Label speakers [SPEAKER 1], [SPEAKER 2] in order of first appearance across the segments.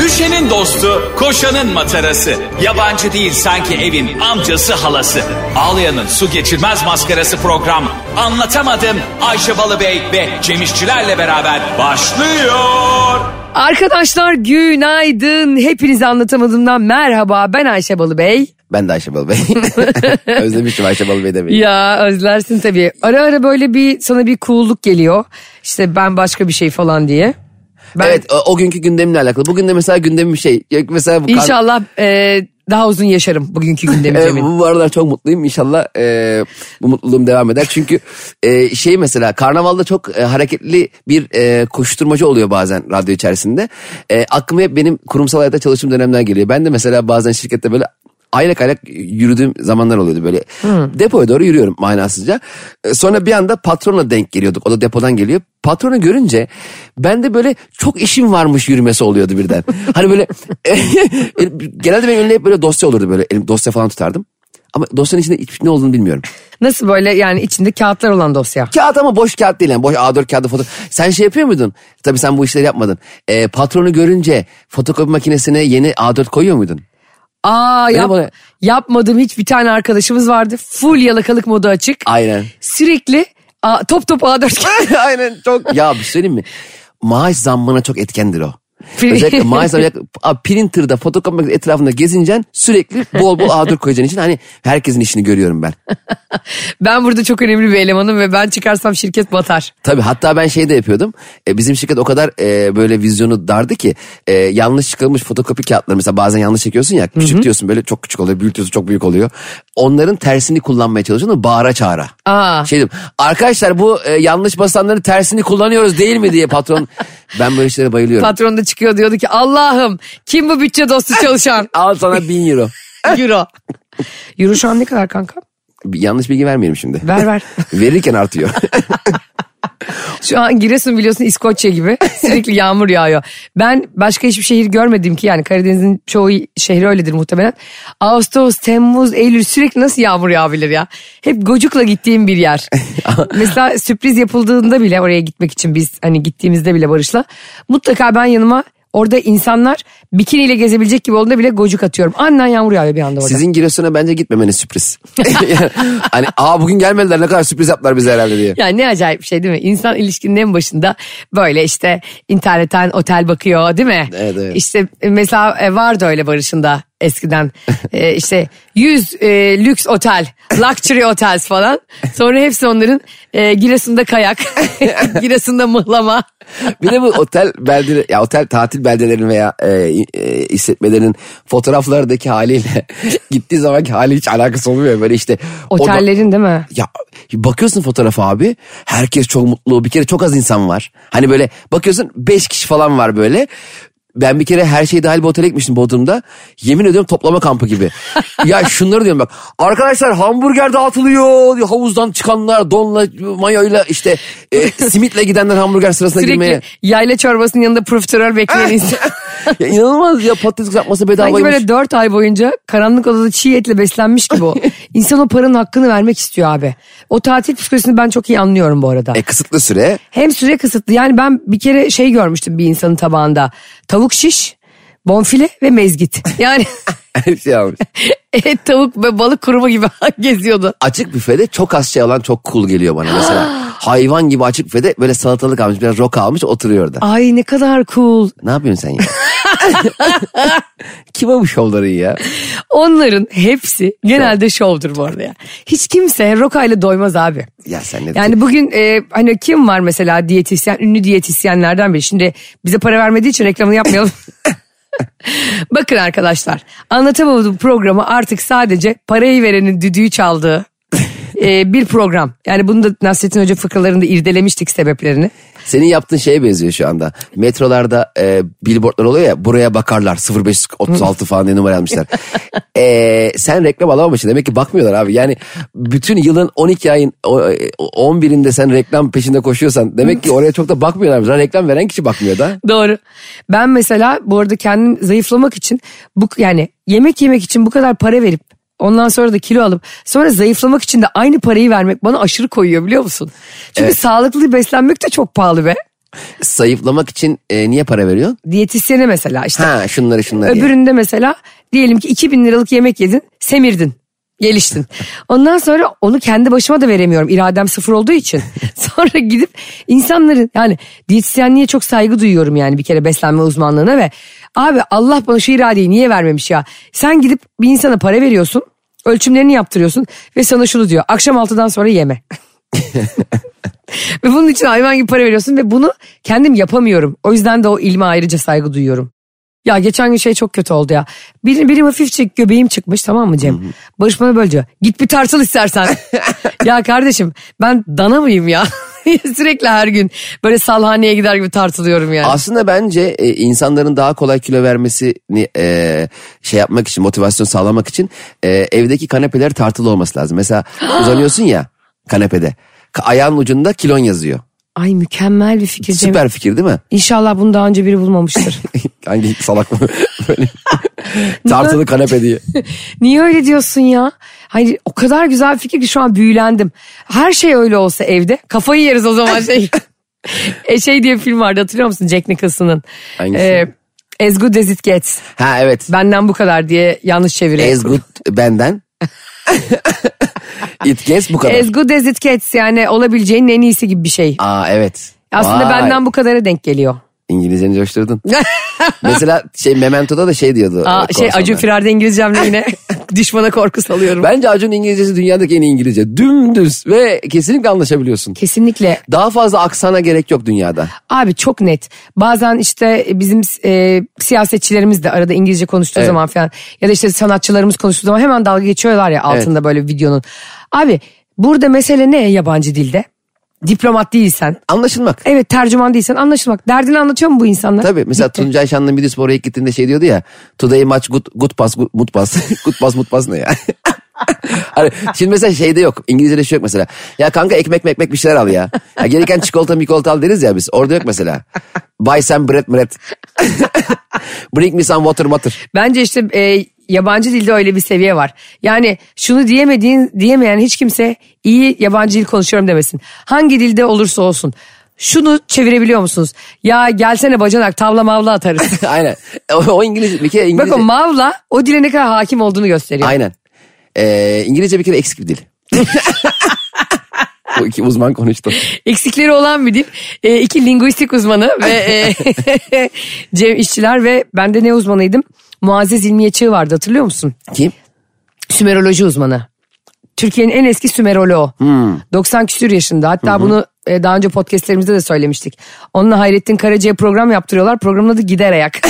[SPEAKER 1] Düşenin dostu, koşanın matarası. Yabancı değil sanki evin amcası halası. Ağlayanın su geçirmez maskarası program. Anlatamadım Ayşe Balıbey ve Cemişçilerle beraber başlıyor.
[SPEAKER 2] Arkadaşlar günaydın. Hepinizi anlatamadığımdan merhaba. Ben Ayşe Balıbey.
[SPEAKER 3] Ben de Ayşe Balı Bey. Özlemiştim Ayşe Balı Bey demeyi.
[SPEAKER 2] Ya özlersin tabii. Ara ara böyle bir sana bir cool'luk geliyor. İşte ben başka bir şey falan diye. Ben
[SPEAKER 3] Evet o, o günkü gündemle alakalı. Bugün de mesela gündemim bir şey. Ya Mesela bu kar-
[SPEAKER 2] inşallah e, daha uzun yaşarım bugünkü gündemi
[SPEAKER 3] E,
[SPEAKER 2] Cemil.
[SPEAKER 3] bu, bu aralar çok mutluyum. İnşallah e, bu mutluluğum devam eder. Çünkü e, şey mesela karnavalda çok e, hareketli bir e, koşturmacı oluyor bazen radyo içerisinde. E, aklıma hep benim kurumsal hayatta çalıştığım dönemden geliyor. Ben de mesela bazen şirkette böyle aylak aylak yürüdüğüm zamanlar oluyordu böyle. Depoya doğru yürüyorum manasızca. E, Sonra bir anda patronla denk geliyorduk. O da depodan geliyor. Patronu görünce bende böyle çok işim varmış yürümesi oluyordu birden. hani böyle genelde benim önümde hep böyle dosya olurdu böyle. Elim dosya falan tutardım. Ama dosyanın içinde hiç ne olduğunu bilmiyorum.
[SPEAKER 2] Nasıl böyle yani içinde kağıtlar olan dosya.
[SPEAKER 3] Kağıt ama boş kağıt değil yani. Boş A4 kağıdı foto. Sen şey yapıyor muydun? Tabii sen bu işleri yapmadın. E, patronu görünce fotokopi makinesine yeni A4 koyuyor muydun?
[SPEAKER 2] Aa yap,
[SPEAKER 3] bana-
[SPEAKER 2] yapmadığım hiç bir tane arkadaşımız vardı. Full yalakalık modu açık.
[SPEAKER 3] Aynen.
[SPEAKER 2] Sürekli a, top top A4
[SPEAKER 3] Aynen çok. Ya bir şey söyleyeyim mi? Maaş zammına çok etkendir o.
[SPEAKER 2] Prin-
[SPEAKER 3] Özellikle maaş zammı Abi printer'da fotokopi makinesi etrafında gezincen sürekli bol bol A4 koyacağın için hani herkesin işini görüyorum ben.
[SPEAKER 2] Ben burada çok önemli bir elemanım ve ben çıkarsam şirket batar.
[SPEAKER 3] Tabii hatta ben şey de yapıyordum. E, bizim şirket o kadar e, böyle vizyonu dardı ki e, yanlış çıkılmış fotokopi kağıtları mesela bazen yanlış çekiyorsun ya küçük diyorsun böyle çok küçük oluyor büyütüyorsun çok büyük oluyor. Onların tersini kullanmaya çalışıyordum bağıra çağıra.
[SPEAKER 2] Aa.
[SPEAKER 3] Şey dedim arkadaşlar bu e, yanlış basanların tersini kullanıyoruz değil mi diye patron ben böyle şeylere bayılıyorum.
[SPEAKER 2] Patron da çıkıyor diyordu ki Allah'ım kim bu bütçe dostu çalışan?
[SPEAKER 3] Al sana bin euro.
[SPEAKER 2] Euro. Euro şu an ne kadar kanka?
[SPEAKER 3] Bir- Yanlış bilgi vermeyelim şimdi.
[SPEAKER 2] Ver ver.
[SPEAKER 3] Verirken artıyor.
[SPEAKER 2] Şu an Giresun biliyorsun İskoçya gibi sürekli yağmur yağıyor. Ben başka hiçbir şehir görmedim ki yani Karadeniz'in çoğu şehri öyledir muhtemelen. Ağustos, Temmuz, Eylül sürekli nasıl yağmur yağabilir ya? Hep gocukla gittiğim bir yer. Mesela sürpriz yapıldığında bile oraya gitmek için biz hani gittiğimizde bile Barış'la mutlaka ben yanıma orada insanlar bikiniyle gezebilecek gibi olduğunda bile gocuk atıyorum. Annen yağmur yağıyor bir anda orada.
[SPEAKER 3] Sizin Giresun'a bence gitmemeniz sürpriz. Yani hani aa bugün gelmediler ne kadar sürpriz yaptılar bize herhalde diye.
[SPEAKER 2] Ya ne acayip bir şey değil mi? İnsan ilişkinin en başında böyle işte internetten otel bakıyor değil mi?
[SPEAKER 3] Evet, evet.
[SPEAKER 2] İşte mesela e, vardı öyle Barış'ında eskiden E, işte 100 e, lüks otel, luxury otels falan. Sonra hepsi onların e, Giresun'da kayak, Giresun'da mıhlama.
[SPEAKER 3] Bir de bu otel beldeleri, ya otel tatil beldelerinin veya e, e, işletmelerinin fotoğraflardaki haliyle gittiği zamanki hali hiç alakası olmuyor. Böyle işte o da-
[SPEAKER 2] Otellerin değil mi?
[SPEAKER 3] ya bakıyorsun fotoğrafa abi herkes çok mutlu bir kere çok az insan var. Hani böyle bakıyorsun 5 kişi falan var böyle. Ben bir kere her şey dahil bir otele gitmiştim Bodrum'da. Yemin ediyorum toplama kampı gibi. ya şunları diyorum bak. Arkadaşlar hamburger dağıtılıyor. diyor. Havuzdan çıkanlar donla, mayoyla işte e, simitle gidenler hamburger sırasına girmeye.
[SPEAKER 2] Sürekli yayla çorbasının yanında profiterol bekleyen insan.
[SPEAKER 3] Ya inanılmaz ya patates kızartması bedavaymış.
[SPEAKER 2] Sanki böyle dört ay boyunca karanlık odada çiğ etle beslenmiş gibi o. İnsan o paranın hakkını vermek istiyor abi. O tatil psikolojisini ben çok iyi anlıyorum bu arada.
[SPEAKER 3] E, kısıtlı süre.
[SPEAKER 2] Hem süre kısıtlı yani ben bir kere şey görmüştüm bir insanın tabağında. Tavuk şiş, bonfile ve mezgit. Yani
[SPEAKER 3] Her şey almış.
[SPEAKER 2] et, tavuk ve balık kurumu gibi geziyordu.
[SPEAKER 3] açık büfede çok az şey olan çok cool geliyor bana mesela. Hayvan gibi açık büfede böyle salatalık almış biraz roka almış oturuyor orada.
[SPEAKER 2] Ay ne kadar cool.
[SPEAKER 3] Ne yapıyorsun sen ya? Kime bu şovları ya?
[SPEAKER 2] Onların hepsi genelde şovdur bu arada ya. Hiç kimse rokayla doymaz abi.
[SPEAKER 3] Ya sen ne
[SPEAKER 2] Yani bugün e, hani kim var mesela diyetisyen, ünlü diyetisyenlerden biri. Şimdi bize para vermediği için reklamını yapmayalım. Bakın arkadaşlar anlatamadığım programı artık sadece parayı verenin düdüğü çaldığı e, bir program. Yani bunu da Nasrettin Hoca fıkralarında irdelemiştik sebeplerini.
[SPEAKER 3] Senin yaptığın şeye benziyor şu anda. Metrolarda e, billboardlar oluyor ya buraya bakarlar 0536 falan diye numara almışlar. E, sen reklam alamamışsın demek ki bakmıyorlar abi. Yani bütün yılın 12 ayın o- e, 11'inde sen reklam peşinde koşuyorsan demek ki oraya çok da bakmıyorlar. Zaten reklam veren kişi bakmıyor da.
[SPEAKER 2] Doğru. Ben mesela bu arada kendim zayıflamak için bu yani yemek yemek için bu kadar para verip ondan sonra da kilo alıp sonra zayıflamak için de aynı parayı vermek bana aşırı koyuyor biliyor musun? Çünkü sağlıklı beslenmek de çok pahalı be.
[SPEAKER 3] Sayıflamak için e, niye para veriyorsun?
[SPEAKER 2] Diyetisyene mesela işte.
[SPEAKER 3] Ha şunları şunları. yani.
[SPEAKER 2] Öbüründe mesela diyelim ki 2000 liralık yemek yedin, semirdin. Geliştin. Ondan sonra onu kendi başıma da veremiyorum. İradem sıfır olduğu için. Sonra gidip insanların yani diyetisyenliğe çok saygı duyuyorum yani bir kere beslenme uzmanlığına ve abi Allah bana şu iradeyi niye vermemiş ya? Sen gidip bir insana para veriyorsun, ölçümlerini yaptırıyorsun ve sana şunu diyor. Akşam 6'dan sonra yeme. ve bunun için hayvan gibi para veriyorsun ve bunu kendim yapamıyorum. O yüzden de o ilme ayrıca saygı duyuyorum. Ya geçen gün şey çok kötü oldu ya. Benim, benim hafifçe göbeğim çıkmış tamam mı Cem? Barış bana böyle diyor. Git bir tartıl istersen. ya kardeşim ben dana mıyım ya? Sürekli her gün böyle salhaneye gider gibi tartılıyorum yani.
[SPEAKER 3] Aslında bence e, insanların daha kolay kilo vermesini e, şey yapmak için motivasyon sağlamak için e, evdeki kanepeler tartılı olması lazım. Mesela uzanıyorsun ya kanepede Ka- ayağın ucunda kilon yazıyor.
[SPEAKER 2] Ay mükemmel bir fikir Cem.
[SPEAKER 3] Süper fikir değil mi?
[SPEAKER 2] İnşallah bunu daha önce biri bulmamıştır.
[SPEAKER 3] Hangi salak mı? Böyle tartılı kanepe diye.
[SPEAKER 2] Niye öyle diyorsun ya? Hayır o kadar güzel fikir ki şu an büyülendim. Her şey öyle olsa evde kafayı yeriz o zaman şey. e şey diye bir film vardı hatırlıyor musun Jack Nicholson'ın? E,
[SPEAKER 3] Hangisi?
[SPEAKER 2] As Good As It Gets.
[SPEAKER 3] Ha evet.
[SPEAKER 2] Benden bu kadar diye yanlış çeviriyor.
[SPEAKER 3] As good benden. It gets bu kadar.
[SPEAKER 2] As Good As It Gets yani olabileceğin en iyisi gibi bir şey.
[SPEAKER 3] Aa evet.
[SPEAKER 2] Aslında
[SPEAKER 3] Vay.
[SPEAKER 2] benden bu kadara denk geliyor.
[SPEAKER 3] İngilizceni coşturdun. Mesela şey Memento'da da şey diyordu.
[SPEAKER 2] Aa,
[SPEAKER 3] e,
[SPEAKER 2] şey
[SPEAKER 3] korsanlar.
[SPEAKER 2] Acun Firar'da İngilizcemle yine düşmana korku salıyorum.
[SPEAKER 3] Bence Acun'un İngilizcesi dünyadaki en iyi İngilizce. Dümdüz ve kesinlikle anlaşabiliyorsun.
[SPEAKER 2] Kesinlikle
[SPEAKER 3] Daha fazla aksana gerek yok dünyada.
[SPEAKER 2] Abi çok net. Bazen işte bizim e, siyasetçilerimiz de arada İngilizce konuştuğu
[SPEAKER 3] Evet.
[SPEAKER 2] zaman falan ya da işte sanatçılarımız konuştuğu zaman hemen dalga geçiyorlar ya altında böyle videonun. Abi burada mesele ne yabancı dilde? Diplomat değilsen,
[SPEAKER 3] Anlaşılmak.
[SPEAKER 2] evet tercüman değilsen anlaşılmak. Derdini anlatıyor mu bu insanlar?
[SPEAKER 3] Tabii mesela
[SPEAKER 2] Bitti.
[SPEAKER 3] Tuncay Şanlı'nın videosu oraya gittiğinde şey diyordu ya. Today maç good, good pass good, good pass. good pass good pass ne ya? hani şimdi mesela şeyde yok. İngilizce'de şey yok mesela. Ya kanka ekmek ekmek bir şeyler al ya. ya gereken çikolata mikolata al deriz ya biz. Orada yok mesela. Buy some bread bread. Bring me some water water.
[SPEAKER 2] Bence işte e, yabancı dilde öyle bir seviye var. Yani şunu diyemediğin diyemeyen hiç kimse iyi yabancı dil konuşuyorum demesin. Hangi dilde olursa olsun. Şunu çevirebiliyor musunuz? Ya gelsene bacanak tavla mavla atarız.
[SPEAKER 3] Aynen. O, o İngilizce bir kere İngilizce.
[SPEAKER 2] Bak o mavla o dile ne kadar hakim olduğunu gösteriyor.
[SPEAKER 3] Aynen. Ee, İngilizce bir kere eksik bir dil. Bu iki uzman konuştu.
[SPEAKER 2] Eksikleri olan bir dil. E, iki linguistik uzmanı ve e, Cem İşçiler ve ben de ne uzmanıydım? Muazzez İlmiye Çığ vardı hatırlıyor musun?
[SPEAKER 3] Kim?
[SPEAKER 2] Sümeroloji uzmanı. Türkiye'nin en eski Sümeroloğu. 90 küsür yaşında. Hatta bunu e, daha önce podcastlerimizde de söylemiştik. Onunla Hayrettin Karaca'ya program yaptırıyorlar. Programın adı Gider Ayak.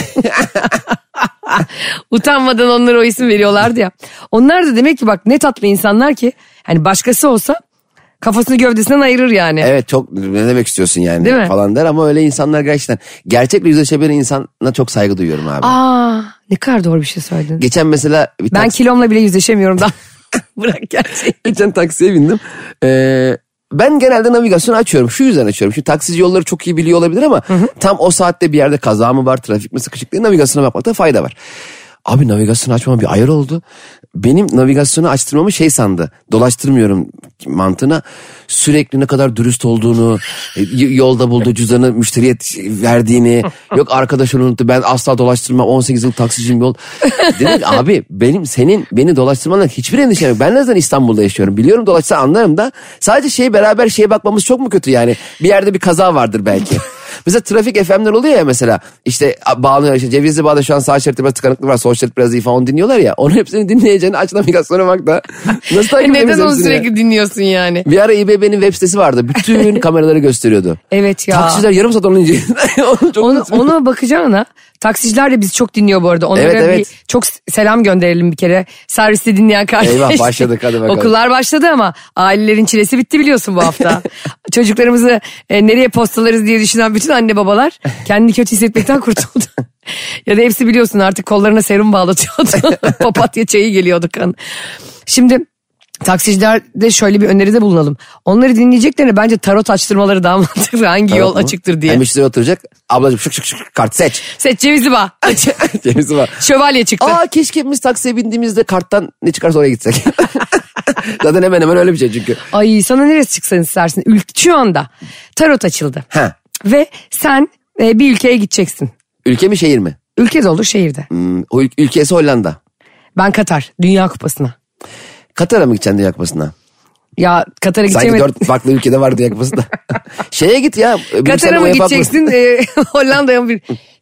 [SPEAKER 2] Utanmadan onlara o isim veriyorlardı ya. Onlar da demek ki bak ne tatlı insanlar ki. Hani başkası olsa kafasını gövdesinden ayırır yani.
[SPEAKER 3] Evet çok ne demek istiyorsun yani
[SPEAKER 2] Değil mi?
[SPEAKER 3] falan der ama öyle insanlar gerçekten gerçekle yüzleşebilen insana çok saygı duyuyorum abi.
[SPEAKER 2] Aa ne kadar doğru bir şey söyledin.
[SPEAKER 3] Geçen mesela bir
[SPEAKER 2] ben
[SPEAKER 3] taksi-
[SPEAKER 2] kilomla bile yüzleşemiyorum daha. Bırak gerçeği.
[SPEAKER 3] Geçen taksiye bindim. Ee, ben genelde navigasyonu açıyorum. Şu yüzden açıyorum. Şimdi taksici yolları çok iyi biliyor olabilir ama tam o saatte bir yerde kaza mı var, trafik mi sıkışık diye navigasyona bakmakta fayda var. Abi navigasyonu açmam bir ayar oldu. Benim navigasyonu açtırmamı şey sandı. Dolaştırmıyorum mantığına. Sürekli ne kadar dürüst olduğunu, e, y- yolda bulduğu cüzdanı müşteriye t- verdiğini. Yok arkadaşını unuttu ben asla dolaştırmam 18 yıl taksiciyim yol. Dedim ki, abi benim senin beni dolaştırmanla hiçbir endişem yok. Ben neden İstanbul'da yaşıyorum biliyorum dolaşsa anlarım da. Sadece şey beraber şeye bakmamız çok mu kötü yani? Bir yerde bir kaza vardır belki. Mesela trafik FM'ler oluyor ya mesela işte bağlanıyor işte Cevizli Bağ'da şu an sağ şeritte biraz tıkanıklık var sol şerit biraz iyi falan onu dinliyorlar ya. Onun hepsini dinleyeceğini aç navigasyona bak da nasıl
[SPEAKER 2] Neden
[SPEAKER 3] takip edeceğiz
[SPEAKER 2] onu
[SPEAKER 3] hepsini ya?
[SPEAKER 2] sürekli dinliyorsun yani?
[SPEAKER 3] Bir ara İBB'nin web sitesi vardı. Bütün kameraları gösteriyordu.
[SPEAKER 2] Evet ya.
[SPEAKER 3] Taksiciler yarım saat onun ince- Onu çok
[SPEAKER 2] Onu, ona bakacağına taksiciler de bizi çok dinliyor bu arada. Onlara
[SPEAKER 3] Evet, evet.
[SPEAKER 2] bir çok selam gönderelim bir kere. Serviste dinleyen kardeş.
[SPEAKER 3] Eyvah, başladık, hadi bakalım.
[SPEAKER 2] Okullar başladı ama ailelerin çilesi bitti biliyorsun bu hafta. Çocuklarımızı e, nereye postalarız diye düşünen bütün anne babalar kendini kötü hissetmekten kurtuldu. ya da hepsi biliyorsun artık kollarına serum bağlatıyordu. Papatya çayı geliyordu kan. Şimdi taksicilerde şöyle bir öneride bulunalım. Onları dinleyeceklerine bence tarot açtırmaları daha mantıklı. Hangi yol
[SPEAKER 3] Tamam mı?
[SPEAKER 2] açıktır diye.
[SPEAKER 3] Hem müşteri oturacak. Ablacığım şık şık şık kart seç.
[SPEAKER 2] Seç cevizli bağ.
[SPEAKER 3] Cevizli Bağ.
[SPEAKER 2] Şövalye çıktı.
[SPEAKER 3] Aa keşke biz taksiye bindiğimizde karttan ne çıkarsa oraya gitsek. Zaten hemen hemen öyle bir şey çünkü.
[SPEAKER 2] Ay sana neresi çıksın istersin? Ül- şu anda tarot açıldı.
[SPEAKER 3] Ha.
[SPEAKER 2] Ve sen e, bir ülkeye gideceksin.
[SPEAKER 3] Ülke mi şehir mi?
[SPEAKER 2] Ülke de olur şehirde.
[SPEAKER 3] Hmm, o ül- ülkesi Hollanda.
[SPEAKER 2] Ben Katar Dünya Kupası'na.
[SPEAKER 3] Katar'a mı gideceksin Dünya Kupası'na?
[SPEAKER 2] Ya Katar'a
[SPEAKER 3] Sanki
[SPEAKER 2] gidemedim.
[SPEAKER 3] dört farklı ülkede var Dünya Kupası'nda. Şeye git ya. Brüksel'e
[SPEAKER 2] Katar'a mı
[SPEAKER 3] UEFA Kupası.
[SPEAKER 2] gideceksin e, Hollanda'ya mı?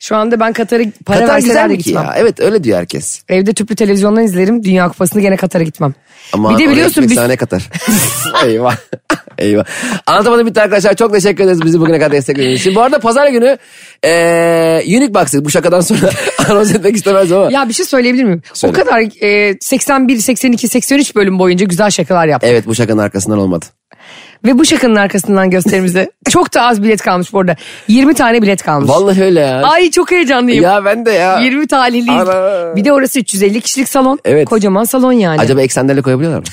[SPEAKER 2] Şu anda ben Katar'a para
[SPEAKER 3] Katar
[SPEAKER 2] verseler
[SPEAKER 3] güzel
[SPEAKER 2] de
[SPEAKER 3] mi ki
[SPEAKER 2] gitmem.
[SPEAKER 3] ya? Evet öyle diyor herkes.
[SPEAKER 2] Evde tüplü televizyondan izlerim. Dünya Kupası'nı gene Katar'a gitmem.
[SPEAKER 3] Ama
[SPEAKER 2] bir de biliyorsun
[SPEAKER 3] bir
[SPEAKER 2] biz
[SPEAKER 3] sahne Katar. Eyvah. Eyvah. Anlatamadım bitti arkadaşlar. Çok teşekkür ederiz bizi bugüne kadar desteklediğiniz için. Bu arada pazar günü eee Unique Box'ı bu şakadan sonra anons etmek istemez ama.
[SPEAKER 2] Ya bir şey söyleyebilir miyim?
[SPEAKER 3] Söyle.
[SPEAKER 2] O kadar e, 81, 82, 83 bölüm boyunca güzel şakalar yaptı.
[SPEAKER 3] Evet bu şakanın arkasından olmadı.
[SPEAKER 2] Ve bu şakanın arkasından gösterimize çok da az bilet kalmış bu arada. 20 tane bilet kalmış.
[SPEAKER 3] Vallahi öyle ya.
[SPEAKER 2] Ay çok heyecanlıyım.
[SPEAKER 3] Ya ben de ya.
[SPEAKER 2] 20 talihliyiz.
[SPEAKER 3] Ana.
[SPEAKER 2] Bir de orası 350 kişilik salon.
[SPEAKER 3] Evet.
[SPEAKER 2] Kocaman salon yani.
[SPEAKER 3] Acaba eksenlerle koyabiliyorlar mı?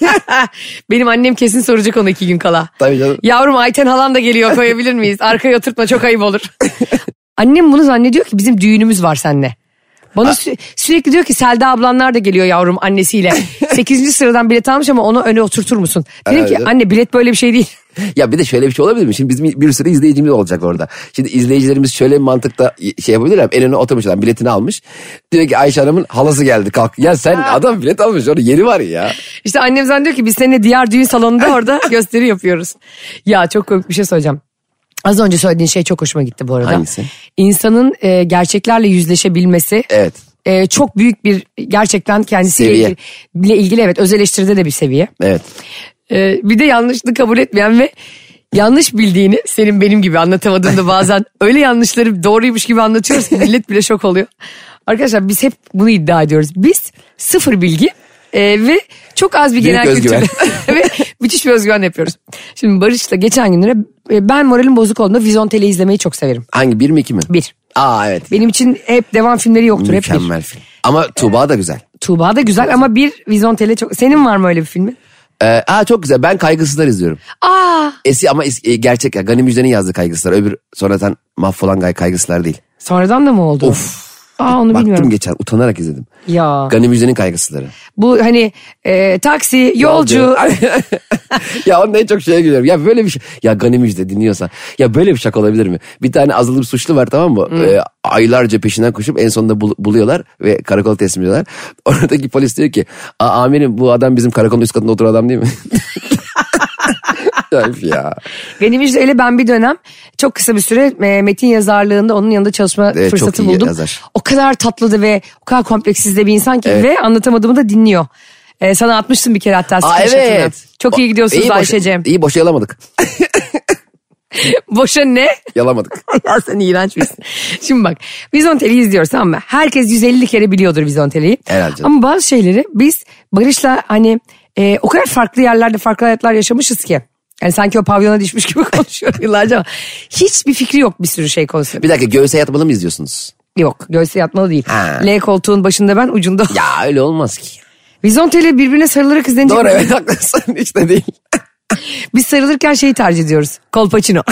[SPEAKER 2] Benim annem kesin soracak onu iki gün kala.
[SPEAKER 3] Tabii canım.
[SPEAKER 2] Yavrum Ayten halan da geliyor koyabilir miyiz? Arkaya oturtma çok ayıp olur. annem bunu zannediyor ki bizim düğünümüz var seninle. Bana sü- sürekli diyor ki Selda ablanlar da geliyor yavrum annesiyle. 8. sıradan bilet almış ama onu öne oturtur musun? Dedim
[SPEAKER 3] Herhalde.
[SPEAKER 2] ki anne bilet böyle bir şey değil.
[SPEAKER 3] Ya bir de şöyle bir şey olabilir mi? Şimdi bizim bir sürü izleyicimiz olacak orada. Şimdi izleyicilerimiz şöyle bir mantıkta şey yapabilirler. En önüne oturmuş adam biletini almış. Diyor ki Ayşe Hanım'ın halası geldi kalk. Ya sen adam bilet almış orada yeri var ya.
[SPEAKER 2] İşte annem zannediyor ki biz seninle diğer düğün salonunda orada gösteri yapıyoruz. Ya çok komik bir şey söyleyeceğim. Az önce söylediğin şey çok hoşuma gitti bu arada.
[SPEAKER 3] Hangisi?
[SPEAKER 2] İnsanın e, gerçeklerle yüzleşebilmesi.
[SPEAKER 3] Evet.
[SPEAKER 2] e, çok büyük bir gerçekten kendisiyle
[SPEAKER 3] Seviye.
[SPEAKER 2] ilgili, ile ilgili evet öz eleştiride de bir seviye.
[SPEAKER 3] Evet.
[SPEAKER 2] E, bir de yanlışlığı kabul etmeyen ve yanlış bildiğini senin benim gibi anlatamadığımda bazen öyle yanlışları doğruymuş gibi anlatıyoruz ki millet bile şok oluyor. Arkadaşlar biz hep bunu iddia ediyoruz. Biz sıfır bilgi e, ve çok az bir genel
[SPEAKER 3] özgüven.
[SPEAKER 2] kültür ve müthiş bir özgüven yapıyoruz. Şimdi Barış'la geçen günlere e, ben moralim bozuk olduğunda Vizontele izlemeyi çok severim.
[SPEAKER 3] Hangi bir mi iki mi?
[SPEAKER 2] Bir.
[SPEAKER 3] Aa evet.
[SPEAKER 2] Benim için hep devam filmleri yoktur. hep bir.
[SPEAKER 3] Mükemmel film. Ama Tuğba da güzel.
[SPEAKER 2] Tuğba da güzel ama bir Vizontele çok... Senin var mı öyle bir filmin?
[SPEAKER 3] Ee, aa çok güzel. Ben Kaygısızlar izliyorum.
[SPEAKER 2] Aa!
[SPEAKER 3] Esi ama es- e, gerçek ya. Gani Müjde'nin yazdığı Kaygısızlar. Öbür sonradan mahvolan gay Kaygısızlar değil.
[SPEAKER 2] Sonradan da mı oldu?
[SPEAKER 3] Of.
[SPEAKER 2] Aa onu
[SPEAKER 3] Baktım
[SPEAKER 2] bilmiyorum.
[SPEAKER 3] geçen utanarak izledim.
[SPEAKER 2] Ya
[SPEAKER 3] Gani Müjde'nin Kaygısızları.
[SPEAKER 2] bu hani e, taksi, yolcu.
[SPEAKER 3] ya onun en çok şeye gülüyorum. Ya böyle bir şey. Ya Gani Müjde dinliyorsa. Ya böyle bir şaka olabilir mi? Bir tane azılı bir suçlu var tamam mı? Ee, aylarca peşinden koşup en sonunda bul- buluyorlar ve karakola teslim ediyorlar. Oradaki polis diyor ki Aa, amirim bu adam bizim karakolun üst katında oturan adam değil mi? Öf ya.
[SPEAKER 2] Benim ile ben bir dönem çok kısa bir süre e, metin yazarlığında onun yanında çalışma
[SPEAKER 3] Evet,
[SPEAKER 2] fırsatı
[SPEAKER 3] E, çok iyi
[SPEAKER 2] buldum.
[SPEAKER 3] yazar.
[SPEAKER 2] O kadar tatlıdı ve o kadar kompleksiz de bir insan ki ve anlatamadığımı da dinliyor. E, sana atmıştım bir kere hatta
[SPEAKER 3] Aa,
[SPEAKER 2] screenshot'ını.
[SPEAKER 3] evet.
[SPEAKER 2] Çok iyi gidiyorsunuz
[SPEAKER 3] boşa-
[SPEAKER 2] Ayşe'cim.
[SPEAKER 3] İyi boşayalamadık.
[SPEAKER 2] Boşa ne?
[SPEAKER 3] Yalamadık.
[SPEAKER 2] ya sen iğrenç birisin. Şimdi bak Vizonteli'yi izliyoruz tamam mı? Herkes 150 kere biliyordur Vizonteli'yi.
[SPEAKER 3] Herhalde canım.
[SPEAKER 2] Ama bazı şeyleri biz Barış'la hani e, o kadar farklı yerlerde farklı hayatlar yaşamışız ki. Yani sanki o pavyona düşmüş gibi konuşuyor yıllarca ama hiçbir fikri yok bir sürü şey konusunda.
[SPEAKER 3] Bir dakika göğse yatmalı mı izliyorsunuz?
[SPEAKER 2] Yok göğsü yatmalı değil.
[SPEAKER 3] Ha.
[SPEAKER 2] L koltuğun başında ben ucunda.
[SPEAKER 3] Ya öyle olmaz ki.
[SPEAKER 2] Vizonteli birbirine sarılarak izlenecek.
[SPEAKER 3] Doğru
[SPEAKER 2] bir-
[SPEAKER 3] evet haklısın hiç de değil.
[SPEAKER 2] Biz sarılırken şeyi tercih ediyoruz. Kolpaçino.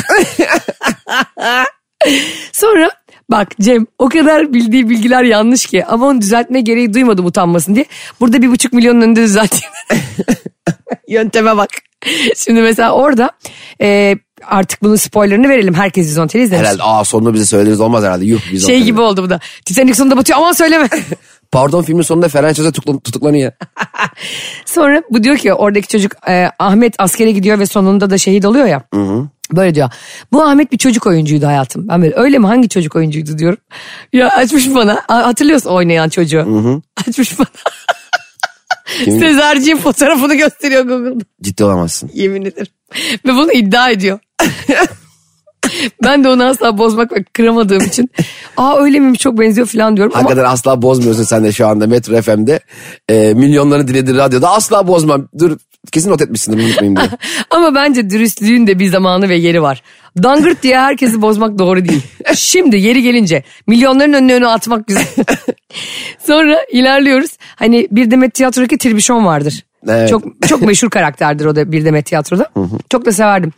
[SPEAKER 2] Sonra bak Cem o kadar bildiği bilgiler yanlış ki ama onu düzeltme gereği duymadım utanmasın diye. Burada bir buçuk milyonun önünde düzelteyim. Yönteme bak. Şimdi mesela orada e, artık bunun spoilerını verelim. Herkes Vizonteli izlemiş.
[SPEAKER 3] Herhalde aa sonunu bize söylediniz olmaz herhalde. Yuh biz
[SPEAKER 2] Şey
[SPEAKER 3] olmadık.
[SPEAKER 2] gibi oldu bu da. Titanic sonunda batıyor aman söyleme.
[SPEAKER 3] Pardon filmin sonunda Ferhan Çöze tutuklan- tutuklanıyor.
[SPEAKER 2] Sonra bu diyor ki oradaki çocuk e, Ahmet askere gidiyor ve sonunda da şehit oluyor ya. Böyle diyor. Bu Ahmet bir çocuk oyuncuydu hayatım. Ben böyle öyle mi hangi çocuk oyuncuydu diyorum. Ya açmış bana. A- Hatırlıyorsun oynayan çocuğu. Açmış bana. Sezerciğin fotoğrafını gösteriyor Google'da.
[SPEAKER 3] Ciddi olamazsın.
[SPEAKER 2] Yemin ederim. Ve bunu iddia ediyor. ben de onu asla bozmak ve kıramadığım için. Aa öyle miymiş çok benziyor falan diyorum. Ama
[SPEAKER 3] Hakikaten asla bozmuyorsun sen de şu anda Metro FM'de. Ee, milyonların dinlediği radyoda asla bozmam. Dur kesin not etmişsindir bunu unutmayayım diye.
[SPEAKER 2] Ama bence dürüstlüğün de bir zamanı ve yeri var. Dangırt diye herkesi bozmak doğru değil. Şimdi yeri gelince milyonların önüne önü atmak güzel. Sonra ilerliyoruz. Hani Bir Demet Tiyatro'daki Tribüşon vardır.
[SPEAKER 3] Evet.
[SPEAKER 2] Çok çok meşhur karakterdir o da Bir Demet Tiyatro'da. Çok da severdim.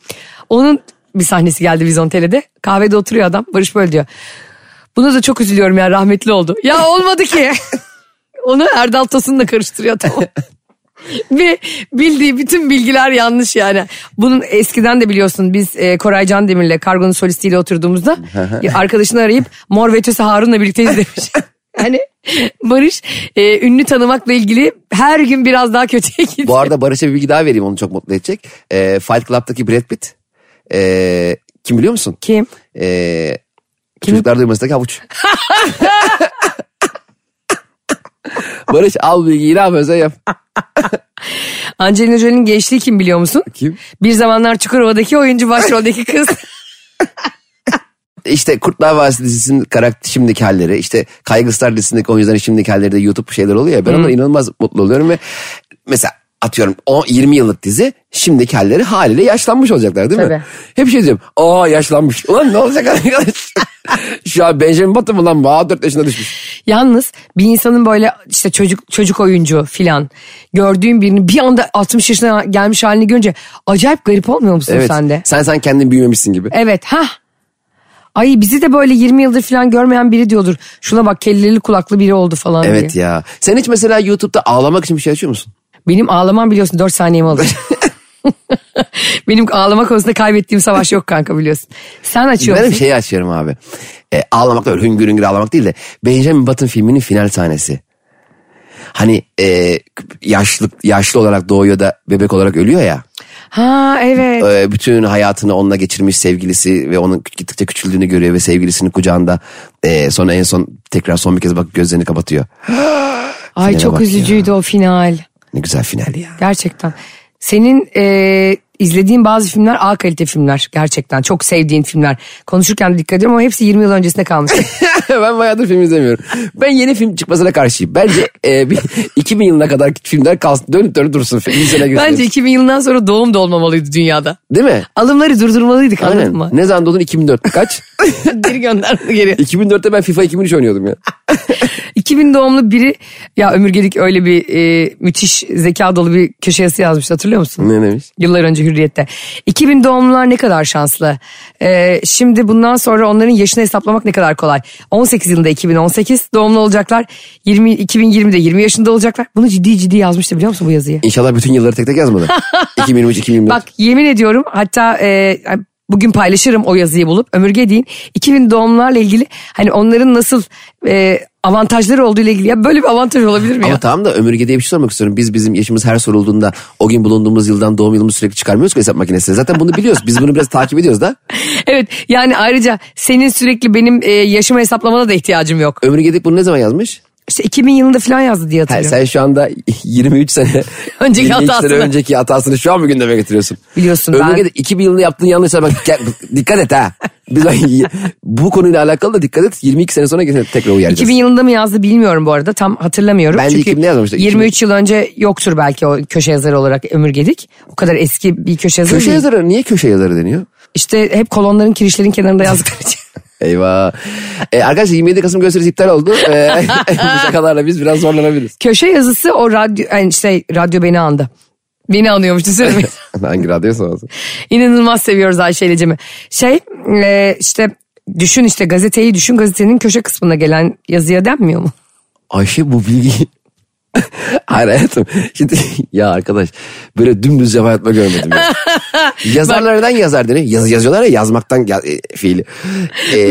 [SPEAKER 2] Onun bir sahnesi geldi Vizontele'de. Kahvede oturuyor adam. Barış böyle diyor. Buna da çok üzülüyorum ya rahmetli oldu. Ya olmadı ki. Onu Erdal Tosun'la karıştırıyor tamam. Ve bildiği bütün bilgiler yanlış yani. Bunun eskiden de biliyorsun biz e, Koray Can Demir'le Kargo'nun solistiyle oturduğumuzda ya arkadaşını arayıp Mor ve Ötesi Harun'la birlikteyiz demiş. Yani Barış e, ünlü tanımakla ilgili her gün biraz daha kötüye gidiyor.
[SPEAKER 3] Bu arada Barış'a bir bilgi daha vereyim onu çok mutlu edecek. Ee, Fight Club'daki Brad Pitt. ee, kim biliyor musun?
[SPEAKER 2] Kim?
[SPEAKER 3] Ee, çocuklar duymasındaki havuç. Barış al bilgiyi ne yapıyorsa yap.
[SPEAKER 2] Angelina Jolie'nin gençliği kim biliyor musun?
[SPEAKER 3] Kim?
[SPEAKER 2] Bir zamanlar Çukurova'daki oyuncu başroldeki kız.
[SPEAKER 3] İşte Kurtlar Vadisi dizisinin karakter şimdiki halleri işte Kaygı Star dizisindeki oyuncuların şimdiki halleri de YouTube şeyler oluyor ya ben ondan inanılmaz mutlu oluyorum ve mesela atıyorum o 20 yıllık dizi şimdiki halleri haliyle yaşlanmış olacaklar değil
[SPEAKER 2] Tabii.
[SPEAKER 3] mi? Hep şey diyorum aa yaşlanmış ulan ne olacak arkadaş şu an Benjamin Button mı lan Aa, 4 yaşına düşmüş
[SPEAKER 2] Yalnız bir insanın böyle işte çocuk çocuk oyuncu filan gördüğün birini bir anda 60 yaşına gelmiş halini görünce acayip garip olmuyor musun
[SPEAKER 3] evet
[SPEAKER 2] sen de?
[SPEAKER 3] sen sen kendin büyümemişsin gibi
[SPEAKER 2] Evet ha. Ay bizi de böyle 20 yıldır filan görmeyen biri diyordur. Şuna bak kelleli kulaklı biri oldu falan
[SPEAKER 3] evet
[SPEAKER 2] diye.
[SPEAKER 3] ya sen hiç mesela YouTube'da ağlamak için bir şey açıyor musun?
[SPEAKER 2] Benim ağlamam biliyorsun 4 saniyemi alır. Benim ağlama konusunda kaybettiğim savaş yok kanka biliyorsun. Sen açıyor
[SPEAKER 3] Ben
[SPEAKER 2] musun?
[SPEAKER 3] bir şey- şeyi açıyorum abi. E, ağlamak da öyle hüngür hüngür ağlamak değil de Benjamin Button filminin final sahnesi. Hani e, yaşlı yaşlı olarak doğuyor da bebek olarak ölüyor ya.
[SPEAKER 2] Ha evet.
[SPEAKER 3] E, bütün hayatını onunla geçirmiş sevgilisi ve onun gittikçe küçüldüğünü görüyor ve sevgilisini kucağında e, sonra en son tekrar son bir kez bak gözlerini kapatıyor.
[SPEAKER 2] Ay
[SPEAKER 3] finale
[SPEAKER 2] çok
[SPEAKER 3] bak ya.
[SPEAKER 2] üzücüydü o final.
[SPEAKER 3] Ne güzel final ya.
[SPEAKER 2] Gerçekten. Senin e, izlediğin bazı filmler A kalite filmler gerçekten. Çok sevdiğin filmler. Konuşurken de dikkat ediyorum ama hepsi 20 yıl öncesine kalmış.
[SPEAKER 3] ben bayağıdır film izlemiyorum. Ben yeni film çıkmasına karşıyım. Bence e, bir, 2000 yılına kadar filmler kalsın dönüp dönüp dursun. film izlene girsin.
[SPEAKER 2] Bence 2000 yılından sonra doğum da olmamalıydı dünyada.
[SPEAKER 3] Değil mi?
[SPEAKER 2] Alımları durdurmalıydık anladın mı?
[SPEAKER 3] Aynen. Ne zaman doğdun 2004 kaç?
[SPEAKER 2] Geri gönderdi geri.
[SPEAKER 3] 2004'te ben FIFA 2003 oynuyordum ya.
[SPEAKER 2] 2000 doğumlu biri ya Ömürgedik öyle bir e, müthiş zeka dolu bir köşe yazısı yazmış hatırlıyor musun?
[SPEAKER 3] ne demiş?
[SPEAKER 2] Yıllar önce Hürriyet'te. 2000 doğumlular ne kadar şanslı. Ee, şimdi bundan sonra onların yaşını hesaplamak ne kadar kolay. 18 yılında 2018 doğumlu olacaklar. 20, 2020'de 20 yaşında olacaklar. Bunu ciddi ciddi yazmıştı biliyor musun bu yazıyı?
[SPEAKER 3] İnşallah bütün yılları tek tek yazmadı. 2023, 2024.
[SPEAKER 2] Bak yemin ediyorum hatta e, bugün paylaşırım o yazıyı bulup Ömürge deyin 2000 doğumlarla ilgili hani onların nasıl e, avantajları olduğu ile ilgili ya böyle bir avantaj olabilir mi
[SPEAKER 3] Ama
[SPEAKER 2] ya?
[SPEAKER 3] tamam da ömürge diye bir şey sormak istiyorum. Biz bizim yaşımız her sorulduğunda o gün bulunduğumuz yıldan doğum yılımızı sürekli çıkarmıyoruz ki hesap makinesine. Zaten bunu biliyoruz. Biz bunu biraz takip ediyoruz da.
[SPEAKER 2] Evet yani ayrıca senin sürekli benim e, yaşımı hesaplamana da ihtiyacım yok.
[SPEAKER 3] Ömürge deyip bunu ne zaman yazmış?
[SPEAKER 2] İşte 2000 yılında falan yazdı diye
[SPEAKER 3] Ha,
[SPEAKER 2] hatırlıyorum.
[SPEAKER 3] sen şu anda 23 sene
[SPEAKER 2] Önceki
[SPEAKER 3] 23 sene
[SPEAKER 2] hatasını.
[SPEAKER 3] önceki hatasını şu an mı gündeme getiriyorsun?
[SPEAKER 2] Biliyorsun ben-
[SPEAKER 3] Ömürge de 2000 yılında yaptığın yanlışa bak dikkat- dikkat et ha. Biz bu konuyla alakalı da dikkat et 22 sene sonra gene tekrar uyaracağız.
[SPEAKER 2] 2000 yılında mı yazdı bilmiyorum bu arada tam hatırlamıyorum.
[SPEAKER 3] Bence
[SPEAKER 2] Çünkü
[SPEAKER 3] 2000'de yazmamıştı.
[SPEAKER 2] 23 yıl önce yoktur belki o köşe yazarı olarak ömürgedik. O kadar eski bir köşe yazarı
[SPEAKER 3] Köşe
[SPEAKER 2] değil.
[SPEAKER 3] yazarı niye köşe yazarı deniyor?
[SPEAKER 2] İşte hep kolonların kirişlerin kenarında yazdıkları için.
[SPEAKER 3] Eyvah. Ee, arkadaşlar 27 Kasım gösterisi iptal oldu. Ee, bu şakalarla biz biraz zorlanabiliriz.
[SPEAKER 2] köşe yazısı o radyo yani işte radyo beni andı. Beni anıyormuş düşünsene.
[SPEAKER 3] Hangi radyo sonrası?
[SPEAKER 2] İnanılmaz seviyoruz Ayşe ile Cem'i. Şey e, işte düşün işte gazeteyi düşün gazetenin köşe kısmına gelen yazıya denmiyor mu?
[SPEAKER 3] Ayşe bu bilgi... Hayır hayatım. Şimdi, ya arkadaş böyle dümdüz cevap yapma görmedim ya. Yazarlar neden yazar deniyor? Yaz, yazıyorlar ya yazmaktan ya- e, fiili. Ee,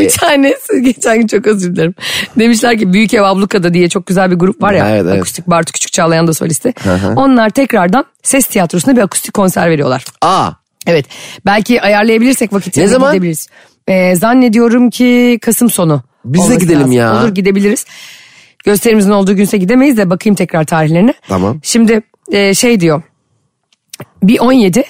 [SPEAKER 2] Bir tanesi geçen gün çok özür dilerim. Demişler ki Büyük Ev Abluka'da diye çok güzel bir grup var ya.
[SPEAKER 3] Evet, evet.
[SPEAKER 2] Akustik Bartu Küçük Çağlayan da solisti. Onlar tekrardan ses tiyatrosunda bir akustik konser veriyorlar.
[SPEAKER 3] aa
[SPEAKER 2] Evet belki ayarlayabilirsek vakitini
[SPEAKER 3] Ne zaman?
[SPEAKER 2] gidebiliriz. Ee, zannediyorum ki Kasım sonu.
[SPEAKER 3] Biz de
[SPEAKER 2] olması
[SPEAKER 3] gidelim
[SPEAKER 2] lazım.
[SPEAKER 3] ya.
[SPEAKER 2] Olur gidebiliriz. Gösterimizin olduğu günse gidemeyiz de bakayım tekrar tarihlerine.
[SPEAKER 3] Tamam.
[SPEAKER 2] Şimdi e, şey diyor. Bir 17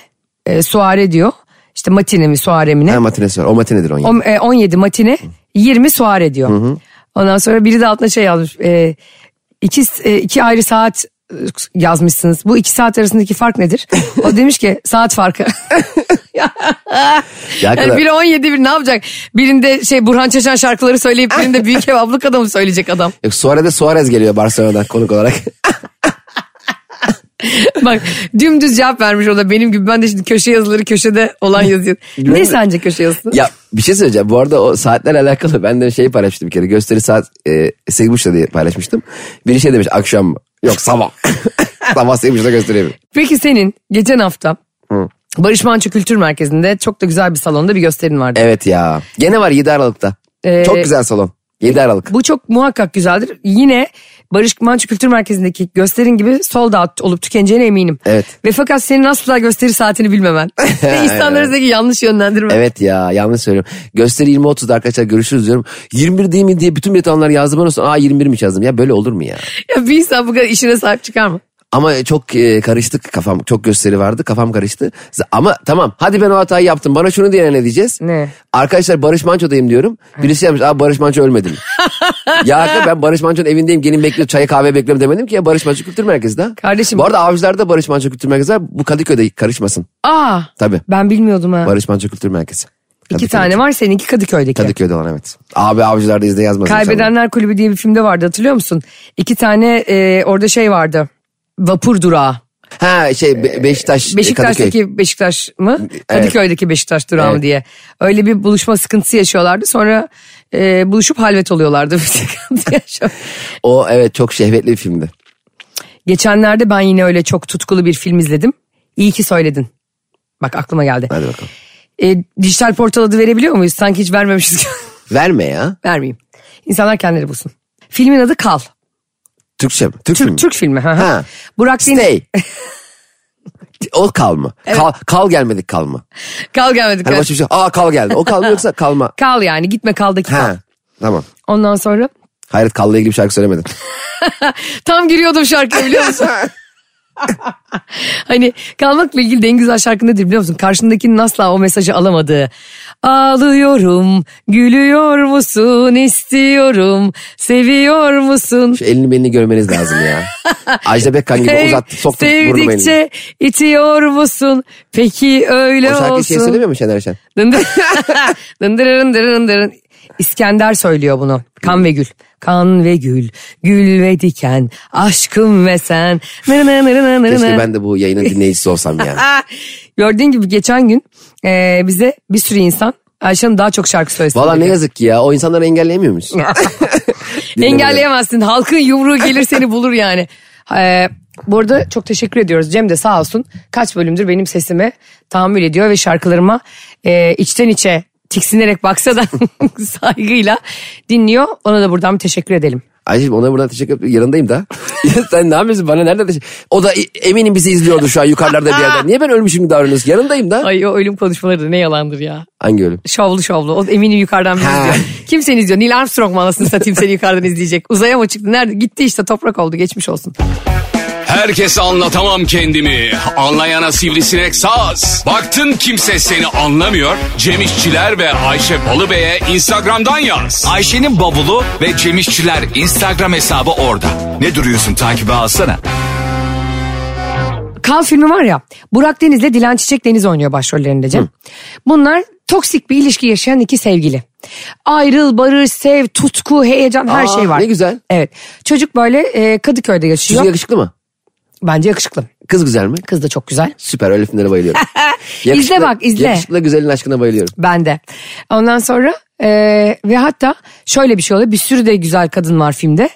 [SPEAKER 2] e, suare diyor. İşte matine mi suare mi ne?
[SPEAKER 3] ha, matinesi var. O matinedir 17.
[SPEAKER 2] On- e, 17 matine 20 suare diyor. Ondan sonra biri de altına şey yazmış. e, iki, e, iki ayrı saat e, yazmışsınız. Bu iki saat arasındaki fark nedir? O demiş ki saat farkı.
[SPEAKER 3] Ya
[SPEAKER 2] yani
[SPEAKER 3] kadar-
[SPEAKER 2] biri 17 bir ne yapacak? Birinde şey Burhan Çeşen şarkıları söyleyip birinde Büyük Ev Abluka'da mı söyleyecek adam?
[SPEAKER 3] Yok, Suarez'de e, Suarez geliyor Barcelona'dan konuk olarak.
[SPEAKER 2] Bak dümdüz cevap vermiş o da benim gibi. Ben de şimdi köşe yazıları köşede olan yazıyor. ne sence köşe yazısı?
[SPEAKER 3] Ya bir şey söyleyeceğim. Bu arada o saatlerle alakalı ben de şey paylaştım bir kere. Gösteri saat e, 8.30'da diye paylaşmıştım. Biri şey demiş akşam mı? Yok sabah. Tam bahsetmiş de göstereyim.
[SPEAKER 2] Peki senin geçen hafta
[SPEAKER 3] Hı.
[SPEAKER 2] Barış Manço Kültür Merkezi'nde çok da güzel bir salonda bir gösterin vardı.
[SPEAKER 3] Evet ya. Gene var 7 Aralık'ta.
[SPEAKER 2] Ee,
[SPEAKER 3] Çok güzel salon. 7 Aralık.
[SPEAKER 2] Bu çok muhakkak güzeldir. Yine Barış Manço Kültür Merkezi'ndeki gösterin gibi sold out olup tükeneceğine eminim.
[SPEAKER 3] Evet.
[SPEAKER 2] Ve fakat senin asla gösteri saatini bilmemen. Ve insanlarınızdaki yanlış yönlendirme.
[SPEAKER 3] Evet ya yanlış söylüyorum. Gösteri 20.30'da arkadaşlar görüşürüz diyorum. 21 değil mi diye bütün bilet alanlar yazdı bana sonra aa 21 mi yazdım ya böyle olur mu ya?
[SPEAKER 2] Ya bir insan bu kadar işine sahip çıkar mı?
[SPEAKER 3] Ama çok e, karıştık kafam çok gösteri vardı kafam karıştı. Z- Ama tamam hadi ben o hatayı yaptım bana şunu diyene ne diyeceğiz?
[SPEAKER 2] Ne? Arkadaşlar
[SPEAKER 3] Arkadaşlar Barış Manço'dayım diyorum. Birisi yapmış aa Barış Manço ölmedi mi? ya arkadaş, ben Barış Manço'nun evindeyim gelin bekliyor çayı kahve bekliyorum demedim ki ya Barış Manço Kültür Merkezi'nde. ha.
[SPEAKER 2] Kardeşim-
[SPEAKER 3] Bu arada Avcılar'da Barış Manço Kültür Merkezi var bu Kadıköy'de karışmasın.
[SPEAKER 2] Aa
[SPEAKER 3] Tabii
[SPEAKER 2] ben bilmiyordum ha.
[SPEAKER 3] Barış Manço Kültür Merkezi.
[SPEAKER 2] İki
[SPEAKER 3] Kadıköy'de.
[SPEAKER 2] tane var seninki Kadıköy'deki.
[SPEAKER 3] Kadıköy'de olan evet. Abi Avcılar'da izle yazmasın. inşallah.
[SPEAKER 2] Kaybedenler Kulübü diye bir filmde vardı hatırlıyor musun? İki tane e, orada şey vardı. Vapur durağı.
[SPEAKER 3] Ha şey Be- Beşiktaş, Beşiktaş'taki... Kadıköy.
[SPEAKER 2] Ee, Beşiktaş'taki Beşiktaş mı? Kadıköy'deki Beşiktaş durağı mı
[SPEAKER 3] Evet.
[SPEAKER 2] diye. Öyle bir buluşma sıkıntısı yaşıyorlardı. Sonra e, buluşup halvet oluyorlardı. Bir sıkıntı yaşıyor.
[SPEAKER 3] O evet çok şehvetli bir filmdi.
[SPEAKER 2] Geçenlerde ben yine öyle çok tutkulu bir film izledim. İyi ki söyledin. Bak aklıma geldi.
[SPEAKER 3] Hadi bakalım.
[SPEAKER 2] E, dijital portal adı verebiliyor muyuz? Sanki hiç vermemişiz gibi.
[SPEAKER 3] Verme ya.
[SPEAKER 2] Vermeyeyim. İnsanlar kendileri bulsun. Filmin adı Kal.
[SPEAKER 3] Türkçe mi? Türk, filmi.
[SPEAKER 2] Türk, Türk filmi. Ha.
[SPEAKER 3] Ha.
[SPEAKER 2] ha. Burak Deniz.
[SPEAKER 3] Stay. o kal mı? Kal, kal gelmedik kal mı?
[SPEAKER 2] Kal gelmedi.
[SPEAKER 3] Hani
[SPEAKER 2] kal.
[SPEAKER 3] başka bir şey. Aa kal geldi. O kal mı yoksa kalma.
[SPEAKER 2] Kal yani gitme kaldaki kal.
[SPEAKER 3] Ha. Tamam.
[SPEAKER 2] Ondan sonra
[SPEAKER 3] Hayret kalla ilgili bir şarkı söylemedin.
[SPEAKER 2] tam giriyordum şarkıya biliyor musun? hani kalmakla ilgili de en güzel şarkı nedir biliyor musun? Karşındakinin asla o mesajı alamadığı. Ağlıyorum, gülüyor musun, istiyorum, seviyor musun?
[SPEAKER 3] Şu elini belini görmeniz lazım ya. Ajda Pekkan gibi
[SPEAKER 2] Hey,
[SPEAKER 3] uzattı soktu burnumu elini.
[SPEAKER 2] sevdikçe itiyor musun? Peki öyle
[SPEAKER 3] O şarkıyı şey
[SPEAKER 2] olsun.
[SPEAKER 3] söylemiyor mu Şener Şen?
[SPEAKER 2] Dındır, dındırırın dırırın dırın. İskender söylüyor bunu. Kan ve gül. Kan ve gül, gül ve diken, aşkım ve sen. Nırı nırı nırı nırı nırı.
[SPEAKER 3] Keşke ben de bu yayının dinleyicisi olsam ya.
[SPEAKER 2] Ah! Gördüğün gibi geçen gün e, bize bir sürü insan Ayşe'nin daha çok şarkı söylesin.
[SPEAKER 3] Valla ne
[SPEAKER 2] dedi.
[SPEAKER 3] yazık ki ya. O insanları engelleyemiyor muyuz? Dinlemiyor.
[SPEAKER 2] Engelleyemezsin. Halkın yumruğu gelir seni bulur yani. E, bu arada çok teşekkür ediyoruz. Cem de sağ olsun kaç bölümdür benim sesime tahammül ediyor ve şarkılarıma e, içten içe tiksinerek baksa da saygıyla dinliyor. Ona da buradan teşekkür edelim.
[SPEAKER 3] Ayşe'cim ona buradan teşekkür ederim. Yanındayım da. Ya sen ne yapıyorsun bana nerede teşekkür O da e- eminim bizi izliyordu şu an yukarılarda bir yerden. Niye ben ölmüşüm gibi davranıyorsun? Yanındayım da.
[SPEAKER 2] Ay o ölüm konuşmaları da ne yalandır ya.
[SPEAKER 3] Hangi ölüm?
[SPEAKER 2] Şovlu şovlu. O eminim yukarıdan bizi
[SPEAKER 3] Ha.
[SPEAKER 2] izliyor. Kim seni izliyor? Neil Armstrong mu anasını satayım seni yukarıdan izleyecek? Uzaya mı çıktı? Nerede? Gitti işte toprak oldu. Geçmiş olsun.
[SPEAKER 4] Herkese anlatamam kendimi. Anlayana sivrisinek saz. Baktın kimse seni anlamıyor. Cem İşçiler ve Ayşe Balıbey'e Instagram'dan yaz.
[SPEAKER 1] Ayşe'nin bavulu ve Cemişçiler Instagram hesabı orada. Ne duruyorsun takibe alsana.
[SPEAKER 2] Kan filmi var ya. Burak Deniz'le Dilan Çiçek Deniz oynuyor başrollerinde Cem. Bunlar toksik bir ilişki yaşayan iki sevgili. Ayrıl, barış, sev, tutku, heyecan her
[SPEAKER 3] Aa,
[SPEAKER 2] şey var.
[SPEAKER 3] ne güzel.
[SPEAKER 2] Evet. Çocuk böyle e, Kadıköy'de yaşıyor.
[SPEAKER 3] Çocuk yakışıklı mı?
[SPEAKER 2] Bence yakışıklı.
[SPEAKER 3] Kız güzel mi?
[SPEAKER 2] Kız da çok güzel.
[SPEAKER 3] Süper öyle filmlere bayılıyorum.
[SPEAKER 2] İzle bak, izle.
[SPEAKER 3] Yakışıklı güzelin aşkına bayılıyorum.
[SPEAKER 2] Ben de. Ondan sonra e, ve hatta şöyle bir şey oluyor. Bir sürü de güzel kadın var filmde.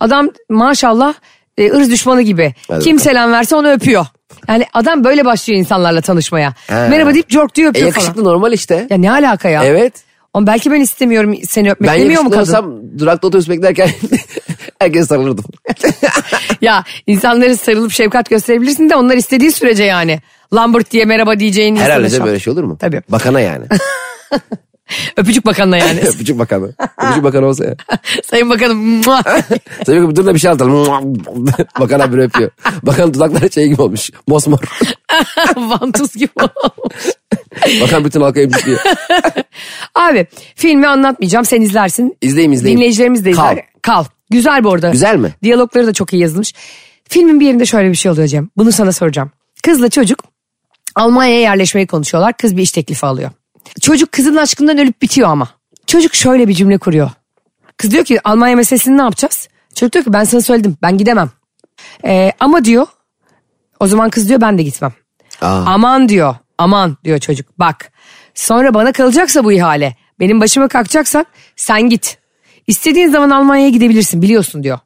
[SPEAKER 2] Adam maşallah e, ırz düşmanı gibi.
[SPEAKER 3] Hadi
[SPEAKER 2] Kim
[SPEAKER 3] bakalım.
[SPEAKER 2] selam verse onu öpüyor. Yani adam böyle başlıyor insanlarla tanışmaya.
[SPEAKER 3] Ha.
[SPEAKER 2] Merhaba deyip cork diyor
[SPEAKER 3] E
[SPEAKER 2] öpüyor
[SPEAKER 3] yakışıklı
[SPEAKER 2] falan.
[SPEAKER 3] normal işte.
[SPEAKER 2] Ya ne alaka ya?
[SPEAKER 3] Evet.
[SPEAKER 2] Ama belki ben istemiyorum seni öpmek
[SPEAKER 3] Ben
[SPEAKER 2] demiyor mu
[SPEAKER 3] yakışıklı
[SPEAKER 2] kadın?
[SPEAKER 3] olsam durakta otobüs beklerken herkes sarılırdım.
[SPEAKER 2] ya insanlara sarılıp şefkat gösterebilirsin de onlar istediği sürece yani. Lambert diye merhaba diyeceğin insana
[SPEAKER 3] Herhalde de
[SPEAKER 2] şap-
[SPEAKER 3] böyle şey olur mu?
[SPEAKER 2] Tabii.
[SPEAKER 3] Bakana yani.
[SPEAKER 2] Öpücük bakanına yani.
[SPEAKER 3] Öpücük bakanı. Öpücük bakanı olsa ya.
[SPEAKER 2] Sayın bakanım. muah.
[SPEAKER 3] Tabii ki dur da bir şey atalım. Bakan abi öpüyor. Bakan dudakları şey gibi olmuş. Mosmor.
[SPEAKER 2] Vantuz gibi olmuş.
[SPEAKER 3] Bakan bütün halka emrikliyor.
[SPEAKER 2] Abi filmi anlatmayacağım sen izlersin.
[SPEAKER 3] İzleyeyim izleyeyim.
[SPEAKER 2] Dinleyicilerimiz de izler.
[SPEAKER 3] Kal.
[SPEAKER 2] Kal. Güzel bu arada.
[SPEAKER 3] Güzel mi?
[SPEAKER 2] Diyalogları da çok iyi yazılmış. Filmin bir yerinde şöyle bir şey oluyor Cem. Bunu sana soracağım. Kızla çocuk Almanya'ya yerleşmeyi konuşuyorlar. Kız bir iş teklifi alıyor. Çocuk kızın aşkından ölüp bitiyor ama. Çocuk şöyle bir cümle kuruyor. Kız diyor ki Almanya meselesini ne yapacağız? Çocuk diyor ki ben sana söyledim ben gidemem. Ee, ama diyor o zaman kız diyor ben de gitmem.
[SPEAKER 3] Aa.
[SPEAKER 2] Aman diyor aman diyor çocuk bak. Sonra bana kalacaksa bu ihale benim başıma kalkacaksan sen git. İstediğin zaman Almanya'ya gidebilirsin biliyorsun diyor.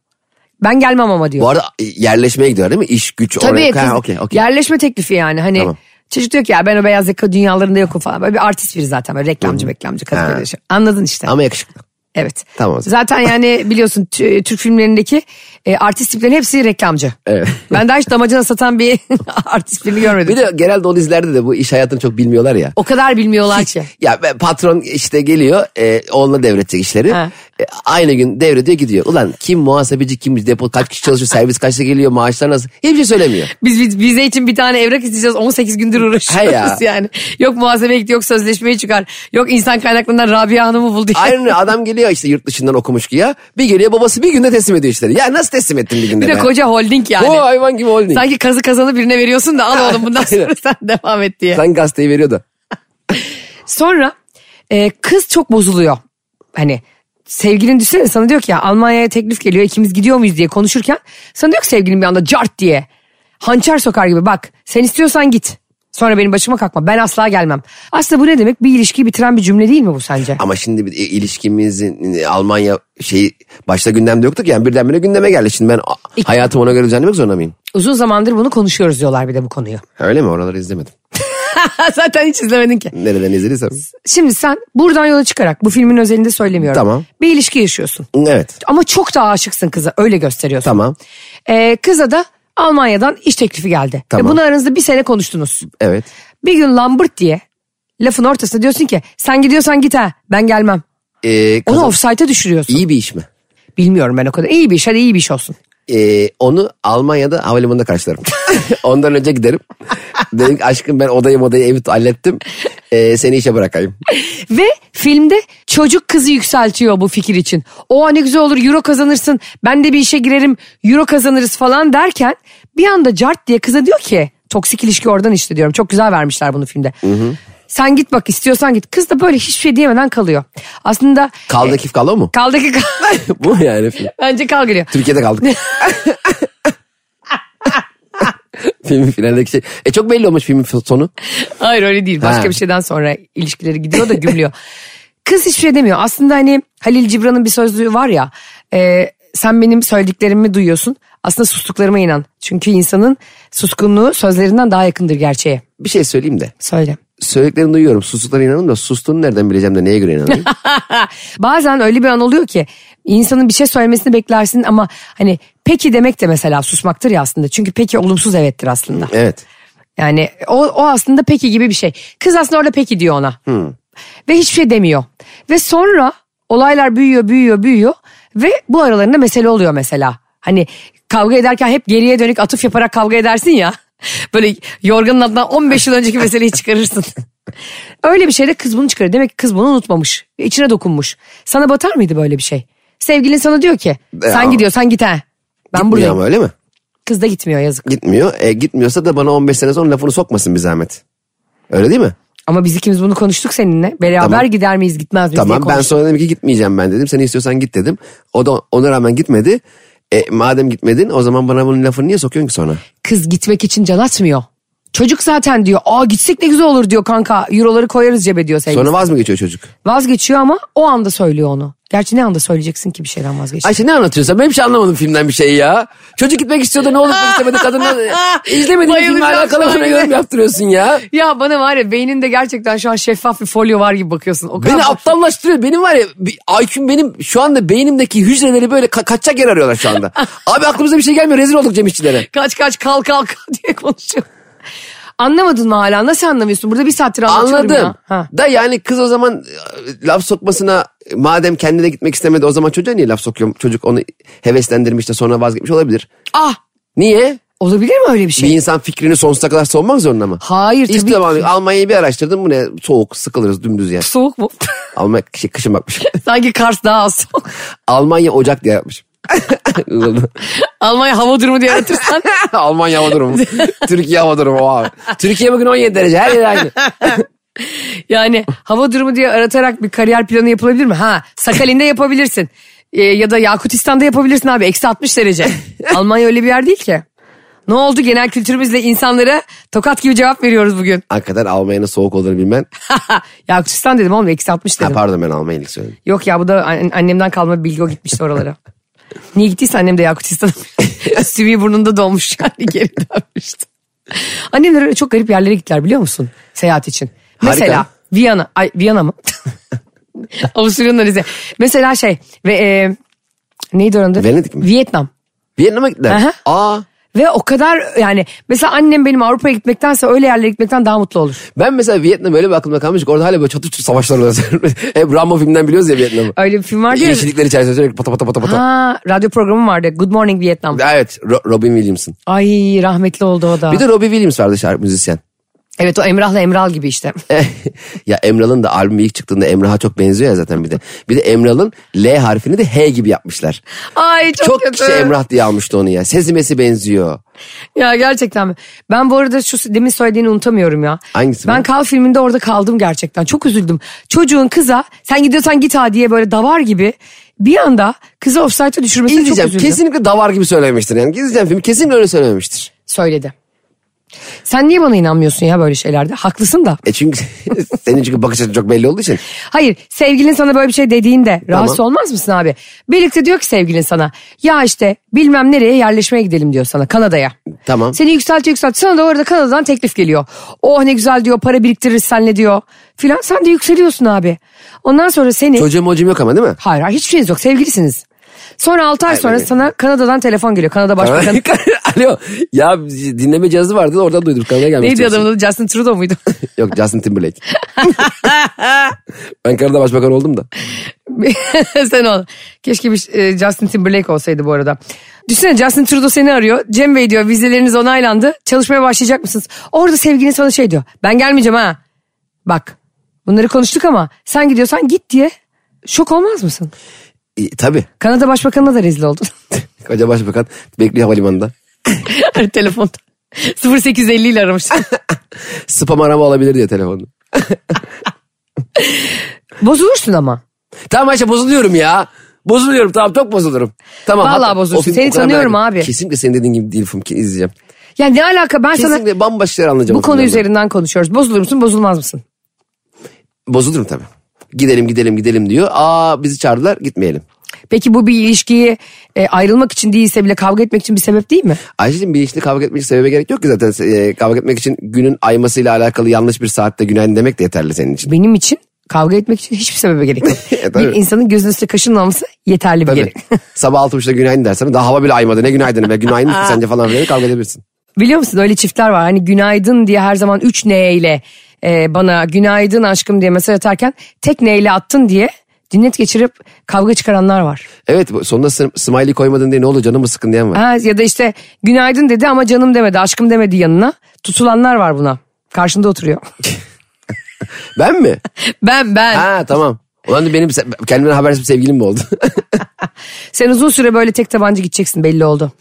[SPEAKER 2] Ben gelmem ama diyor.
[SPEAKER 3] Bu arada yerleşmeye gidiyor değil mi? İş, güç,
[SPEAKER 2] Tabii
[SPEAKER 3] oraya.
[SPEAKER 2] kız,
[SPEAKER 3] Ha, okey, okey.
[SPEAKER 2] yerleşme teklifi yani hani
[SPEAKER 3] Tamam.
[SPEAKER 2] çocuk diyor ki ya ben o beyaz yaka dünyalarında yokum falan. Böyle bir artist biri zaten böyle reklamcı reklamcı
[SPEAKER 3] Ha.
[SPEAKER 2] kategoride şey. Anladın işte.
[SPEAKER 3] Ama yakışıklı.
[SPEAKER 2] evet.
[SPEAKER 3] Tamam o zaman.
[SPEAKER 2] Zaten yani biliyorsun t- Türk filmlerindeki e, artist tiplerin hepsi reklamcı.
[SPEAKER 3] Evet.
[SPEAKER 2] Ben daha hiç damacana satan bir artist filmi görmedim.
[SPEAKER 3] Bir de genelde o dizilerde de bu iş hayatını çok bilmiyorlar ya.
[SPEAKER 2] o kadar bilmiyorlar ki.
[SPEAKER 3] Ya be- patron işte geliyor e, oğluna devredecek işleri.
[SPEAKER 2] Ha.
[SPEAKER 3] E, aynı gün devrediyor gidiyor. Ulan kim muhasebeci kim depo kaç kişi çalışıyor servis kaçta geliyor maaşlar nasıl hiçbir şey söylemiyor.
[SPEAKER 2] Biz, biz vize için bir tane evrak isteyeceğiz 18 gündür uğraşıyoruz
[SPEAKER 3] He ya.
[SPEAKER 2] yani. Yok muhasebeye gitti yok sözleşmeyi çıkar. Yok insan kaynaklarından Rabia Hanım'ı buldu.
[SPEAKER 3] Aynı adam geliyor işte yurt dışından okumuş ki ya bir geliyor babası bir günde teslim ediyor işleri. Ya nasıl teslim ettin bir günde
[SPEAKER 2] Bir de
[SPEAKER 3] be?
[SPEAKER 2] koca holding yani.
[SPEAKER 3] O hayvan gibi holding. Sanki,
[SPEAKER 2] Sanki kazı kazanı birine veriyorsun da al oğlum bundan
[SPEAKER 3] Aynen.
[SPEAKER 2] sonra sen devam et diye.
[SPEAKER 3] gazeteyi veriyor da.
[SPEAKER 2] Sonra e, kız çok bozuluyor. Hani sevgilin düşünsene sana diyor ki ya Almanya'ya teklif geliyor ikimiz gidiyor muyuz diye konuşurken sana diyor ki sevgilin bir anda cart diye. Hançer sokar gibi bak sen istiyorsan git. Sonra benim başıma kalkma ben asla gelmem. Aslında bu ne demek bir ilişkiyi bitiren bir cümle değil mi bu sence?
[SPEAKER 3] Ama şimdi bir ilişkimizin e, Almanya şeyi başta gündemde yoktu ki yani birdenbire gündeme geldi. Şimdi ben a-
[SPEAKER 2] İlk-
[SPEAKER 3] hayatımı ona göre düzenlemek zorunda mıyım?
[SPEAKER 2] Uzun zamandır bunu konuşuyoruz diyorlar bir de bu konuyu.
[SPEAKER 3] Öyle mi oraları izlemedim.
[SPEAKER 2] Zaten hiç izlemedin ki.
[SPEAKER 3] Nereden izlediysem.
[SPEAKER 2] Şimdi sen buradan yola çıkarak bu filmin özelinde söylemiyorum.
[SPEAKER 3] Tamam.
[SPEAKER 2] Bir ilişki yaşıyorsun.
[SPEAKER 3] Evet
[SPEAKER 2] Ama çok da aşıksın kıza öyle gösteriyorsun.
[SPEAKER 3] tamam
[SPEAKER 2] Ee, kıza da Almanya'dan iş teklifi geldi.
[SPEAKER 3] Tamam.
[SPEAKER 2] Ve bunu aranızda bir sene konuştunuz.
[SPEAKER 3] evet.
[SPEAKER 2] Bir gün Lambert diye lafın ortasında diyorsun ki sen gidiyorsan git ha ben gelmem.
[SPEAKER 3] Ee,
[SPEAKER 2] Onu
[SPEAKER 3] kazan-
[SPEAKER 2] offside'a düşürüyorsun.
[SPEAKER 3] iyi bir iş mi?
[SPEAKER 2] Bilmiyorum ben o kadar. İyi bir iş hadi iyi bir iş olsun.
[SPEAKER 3] Ee, onu Almanya'da havalimanında karşılarım. Ondan önce giderim. Dedim ki aşkım ben odayı modayı evi hallettim. Ee, seni işe bırakayım.
[SPEAKER 2] Ve filmde çocuk kızı yükseltiyor bu fikir için. O ne güzel olur euro kazanırsın ben de bir işe girerim euro kazanırız falan derken bir anda cart diye kıza diyor ki toksik ilişki oradan işte diyorum çok güzel vermişler bunu filmde. Sen git bak istiyorsan git. Kız da böyle hiçbir şey diyemeden kalıyor. Aslında e,
[SPEAKER 3] Kaldı kif kalo mu?
[SPEAKER 2] kaldaki
[SPEAKER 3] Bu yani film.
[SPEAKER 2] bence kal geliyor.
[SPEAKER 3] Türkiye'de kaldık. Filmin finaldeki şey. E çok belli olmuş filmin sonu.
[SPEAKER 2] Hayır öyle değil. Başka
[SPEAKER 3] Ha.
[SPEAKER 2] bir şeyden sonra ilişkileri gidiyor da gümlüyor. Kız hiçbir şey demiyor. Aslında hani Halil Cibran'ın bir sözlüğü var ya. e, sen benim söylediklerimi duyuyorsun. Aslında sustuklarıma inan. Çünkü insanın suskunluğu sözlerinden daha yakındır gerçeğe.
[SPEAKER 3] Bir şey söyleyeyim de.
[SPEAKER 2] Söyle.
[SPEAKER 3] Söylediklerini duyuyorum. Sustuklarına inanıyorum da sustuğunu nereden bileceğim de neye göre inanayım?
[SPEAKER 2] Bazen öyle bir an oluyor ki insanın bir şey söylemesini beklersin ama hani peki demek de mesela susmaktır ya aslında. Çünkü peki olumsuz evettir aslında.
[SPEAKER 3] evet.
[SPEAKER 2] Yani o, o aslında peki gibi bir şey. Kız aslında orada peki diyor ona. Ve hiçbir şey demiyor. Ve sonra olaylar büyüyor büyüyor büyüyor. Ve bu aralarında mesele oluyor mesela. Hani kavga ederken hep geriye dönük atıf yaparak kavga edersin ya. Böyle yorganın altından 15 yıl önceki meseleyi çıkarırsın. Öyle bir şeyde kız bunu çıkarır. Demek ki kız bunu unutmamış. İçine dokunmuş. Sana batar mıydı böyle bir şey? Sevgilin sana diyor ki sen
[SPEAKER 3] ama-
[SPEAKER 2] gidiyorsan git ha. Ben
[SPEAKER 3] Gitmiyor
[SPEAKER 2] buradayım.
[SPEAKER 3] ama öyle mi?
[SPEAKER 2] Kız da gitmiyor yazık.
[SPEAKER 3] Gitmiyor. E, gitmiyorsa da bana 15 sene sonra lafını sokmasın bir zahmet. Öyle değil mi?
[SPEAKER 2] Ama biz ikimiz bunu konuştuk seninle. Beraber
[SPEAKER 3] Tamam.
[SPEAKER 2] gider miyiz gitmez miyiz diye
[SPEAKER 3] Tamam ben
[SPEAKER 2] konuştuk.
[SPEAKER 3] sonra dedim ki gitmeyeceğim ben dedim. Seni istiyorsan git dedim. O da ona rağmen gitmedi. E, madem gitmedin o zaman bana bunun lafını niye sokuyorsun ki sonra?
[SPEAKER 2] Kız gitmek için can atmıyor. Çocuk zaten diyor aa gitsek ne güzel olur diyor kanka. Euroları koyarız cebe diyor sevgilisi.
[SPEAKER 3] Sonra vaz mı geçiyor çocuk?
[SPEAKER 2] Vazgeçiyor ama o anda söylüyor onu. Gerçi ne anda söyleyeceksin ki bir şeyden vazgeçti.
[SPEAKER 3] Ayşe ne anlatıyorsun? Ben bir şey anlamadım filmden bir şey ya. Çocuk gitmek istiyordu ne olur istemedi kadından. İzlemediğin filmle
[SPEAKER 2] Bayılacağım
[SPEAKER 3] alakalı
[SPEAKER 2] şu an
[SPEAKER 3] bana
[SPEAKER 2] yine.
[SPEAKER 3] yorum yaptırıyorsun ya.
[SPEAKER 2] Ya bana var ya beyninde gerçekten şu an şeffaf bir folyo var gibi bakıyorsun. O kadar
[SPEAKER 3] Beni
[SPEAKER 2] boş-
[SPEAKER 3] aptallaştırıyor. Benim var ya bir- IQ'm benim şu anda beynimdeki hücreleri böyle ka- kaçacak yer arıyorlar şu anda. Abi aklımıza bir şey gelmiyor. Rezil olduk Cem İşçilere.
[SPEAKER 2] Kaç kaç kalk kalk diye konuşuyor. Anlamadın mı hala? Nasıl anlamıyorsun? Burada bir saattir anlatıyorum
[SPEAKER 3] Anladım.
[SPEAKER 2] ya. Ha.
[SPEAKER 3] Da yani kız o zaman e, laf sokmasına e, madem kendine gitmek istemedi o zaman çocuğa niye laf sokuyorum? Çocuk onu heveslendirmiş de sonra vazgeçmiş olabilir.
[SPEAKER 2] Ah
[SPEAKER 3] Niye?
[SPEAKER 2] olabilir mi öyle bir şey?
[SPEAKER 3] Bir insan fikrini sonsuza kadar savunmak zorunda mı?
[SPEAKER 2] Hayır tabii
[SPEAKER 3] İşte
[SPEAKER 2] ki.
[SPEAKER 3] abi, Almanya'yı bir araştırdım. Bu ne? Soğuk, sıkılırız dümdüz yani.
[SPEAKER 2] Soğuk mu?
[SPEAKER 3] Almanya şey, kışın bakmışım.
[SPEAKER 2] Sanki Kars daha az soğuk.
[SPEAKER 3] Almanya Ocak diye yapmışım.
[SPEAKER 2] Almanya hava durumu diye aratırsan
[SPEAKER 3] Almanya hava durumu. Türkiye hava durumu. Wow. Türkiye bugün 17 derece. Her yer aynı.
[SPEAKER 2] yani hava durumu diye aratarak bir kariyer planı yapılabilir mi? Ha Sakalin'de yapabilirsin. Ee, ya da Yakutistan'da yapabilirsin abi. Eksi 60 derece. Almanya öyle bir yer değil ki. Ne oldu genel kültürümüzle insanlara tokat gibi cevap veriyoruz bugün.
[SPEAKER 3] Hakikaten Almanya'nın soğuk olduğunu bilmen.
[SPEAKER 2] Yakutistan dedim oğlum eksi 60
[SPEAKER 3] Ha,
[SPEAKER 2] dedim.
[SPEAKER 3] pardon ben Almanya'yı söyledim.
[SPEAKER 2] Yok ya bu da an- annemden kalma bir bilgi o gitmişti oralara. Niye gittiyse annem de Yakutistan'a sümüğü burnunda donmuş yani geri dönmüştü. Annemler öyle çok garip yerlere gittiler biliyor musun? Seyahat için.
[SPEAKER 3] Harika.
[SPEAKER 2] Mesela Viyana. Ay Viyana mı? Avusturya'nın Rize. Mesela şey ve e, neydi oranın adı?
[SPEAKER 3] Venedik mi?
[SPEAKER 2] Vietnam.
[SPEAKER 3] Vietnam'a gittiler.
[SPEAKER 2] Aha.
[SPEAKER 3] Aa,
[SPEAKER 2] Ve o kadar yani mesela annem benim Avrupa'ya gitmektense öyle yerlere gitmekten daha mutlu olur.
[SPEAKER 3] ben mesela Vietnam öyle bir aklımda kalmış ki orada hala böyle çatı çatı savaşlar oluyor. Hep Rambo filminden biliyoruz ya Vietnam'ı.
[SPEAKER 2] Öyle bir film vardı ya.
[SPEAKER 3] Yeşillikler içerisinde sürekli pata pata pata pata.
[SPEAKER 2] Ha, radyo programı vardı. Good Morning Vietnam.
[SPEAKER 3] Evet Ro- Robin Williams'ın.
[SPEAKER 2] Ay rahmetli oldu o da.
[SPEAKER 3] Bir de Robbie Williams vardı şarkı müzisyen.
[SPEAKER 2] Evet o Emrah'la Emral gibi işte.
[SPEAKER 3] ya Emral'ın da albümü ilk çıktığında Emrah'a çok benziyor ya zaten bir de. Bir de Emral'ın L harfini de H gibi yapmışlar.
[SPEAKER 2] Ay çok,
[SPEAKER 3] Çok
[SPEAKER 2] kötü.
[SPEAKER 3] kişi Emrah diye almıştı onu ya. Sezimesi benziyor.
[SPEAKER 2] Ya gerçekten mi? Ben bu arada şu demin söylediğini unutamıyorum ya.
[SPEAKER 3] Hangisi
[SPEAKER 2] Ben
[SPEAKER 3] bu?
[SPEAKER 2] Kal filminde orada kaldım gerçekten. Çok üzüldüm. Çocuğun kıza sen gidiyorsan git ha diye böyle davar gibi bir anda kızı offside'a düşürmesine çok
[SPEAKER 3] İzleyeceğim.
[SPEAKER 2] üzüldüm.
[SPEAKER 3] Kesinlikle davar gibi söylememiştir. Yani izleyeceğim filmi kesinlikle öyle söylememiştir.
[SPEAKER 2] Söyledi. Sen niye bana inanmıyorsun ya böyle şeylerde? Haklısın da.
[SPEAKER 3] E çünkü senin çünkü bakış açın çok belli olduğu için.
[SPEAKER 2] Hayır sevgilin sana böyle bir şey dediğinde rahatsız olmaz mısın abi? Birlikte diyor ki sevgilin sana ya işte bilmem nereye yerleşmeye gidelim diyor sana Kanada'ya.
[SPEAKER 3] Tamam.
[SPEAKER 2] Seni yükselt yükselt sana da orada Kanada'dan teklif geliyor. Oh ne güzel diyor para biriktiririz senle diyor filan sen de yükseliyorsun abi. Ondan sonra seni
[SPEAKER 3] Çocuğum hocam yok ama değil mi?
[SPEAKER 2] hayır hayır hiçbir şeyiniz yok sevgilisiniz. Sonra 6 ay sonra
[SPEAKER 3] öyle.
[SPEAKER 2] sana Kanada'dan telefon geliyor. Kanada Başbakanı.
[SPEAKER 3] Alo. Ya dinleme cihazı vardı oradan duydum. Kanada'ya gelmiş.
[SPEAKER 2] Neydi adamın adı Justin Trudeau muydu?
[SPEAKER 3] Yok Justin Timberlake. ben Kanada Başbakan oldum da.
[SPEAKER 2] Sen ol. Keşke bir e, Justin Timberlake olsaydı bu arada. Düşünsene Justin Trudeau seni arıyor. Cem Bey diyor vizeleriniz onaylandı. Çalışmaya başlayacak mısınız? Orada sevgilin sana şey diyor. Ben gelmeyeceğim ha. Bak bunları konuştuk ama sen gidiyorsan git diye. Şok olmaz mısın?
[SPEAKER 3] E, tabii.
[SPEAKER 2] Kanada Başbakanı'na da rezil oldun.
[SPEAKER 3] Koca Başbakan bekliyor havalimanında.
[SPEAKER 2] Telefonda. 0850 ile aramıştım.
[SPEAKER 3] Spam arama olabilir diye telefonu.
[SPEAKER 2] Bozulursun ama.
[SPEAKER 3] Tamam Ayşe bozuluyorum ya. Bozuluyorum tamam çok bozulurum. Tamam.
[SPEAKER 2] Vallahi
[SPEAKER 3] hatta-
[SPEAKER 2] bozulursun.
[SPEAKER 3] o film
[SPEAKER 2] Seni
[SPEAKER 3] o kadar merak
[SPEAKER 2] tanıyorum
[SPEAKER 3] ettim.
[SPEAKER 2] abi.
[SPEAKER 3] Kesinlikle senin dediğin gibi değil film ki izleyeceğim.
[SPEAKER 2] Ya ne alaka ben sana
[SPEAKER 3] Kesinlikle bambaşka şeyler anlayacağım.
[SPEAKER 2] bu
[SPEAKER 3] o
[SPEAKER 2] konu
[SPEAKER 3] filmden ben.
[SPEAKER 2] üzerinden konuşuyoruz. Bozulur musun bozulmaz mısın?
[SPEAKER 3] Bozulurum tabii. Gidelim gidelim gidelim diyor. Aa bizi çağırdılar gitmeyelim.
[SPEAKER 2] Peki bu bir ilişkiyi e, ayrılmak için değilse bile kavga etmek için bir sebep değil mi?
[SPEAKER 3] Ayşe'cim bir işte kavga etmek için sebebe gerek yok ki zaten. Ee, kavga etmek için günün aymasıyla alakalı yanlış bir saatte günaydın demek de yeterli senin için.
[SPEAKER 2] benim için kavga etmek için hiçbir sebebe gerek yok.
[SPEAKER 3] E, tabii.
[SPEAKER 2] bir insanın gözünün üstüne kaşının alması yeterli bir
[SPEAKER 3] Tabii.
[SPEAKER 2] gerek.
[SPEAKER 3] Sabah altı buçukta günaydın dersen daha hava bile aymadı. Ne günaydın be günaydın mı sence falan filan kavga edebilirsin.
[SPEAKER 2] Biliyor musun öyle çiftler var hani günaydın diye her zaman 3 ne ile e, bana günaydın aşkım diye mesaj atarken tek ne ile attın diye dinlet geçirip kavga çıkaranlar var.
[SPEAKER 3] Evet bu- sonunda sı- smiley koymadın diye ne oldu canım mı sıkın diyen var.
[SPEAKER 2] Ha, ya da işte günaydın dedi ama canım demedi aşkım demedi yanına tutulanlar var buna. Karşında oturuyor.
[SPEAKER 3] Ben mi?
[SPEAKER 2] ben ben.
[SPEAKER 3] Ha tamam. Ulan da benim se- kendimden habersiz bir sevgilim mi oldu?
[SPEAKER 2] Sen uzun süre böyle tek tabanca gideceksin belli oldu.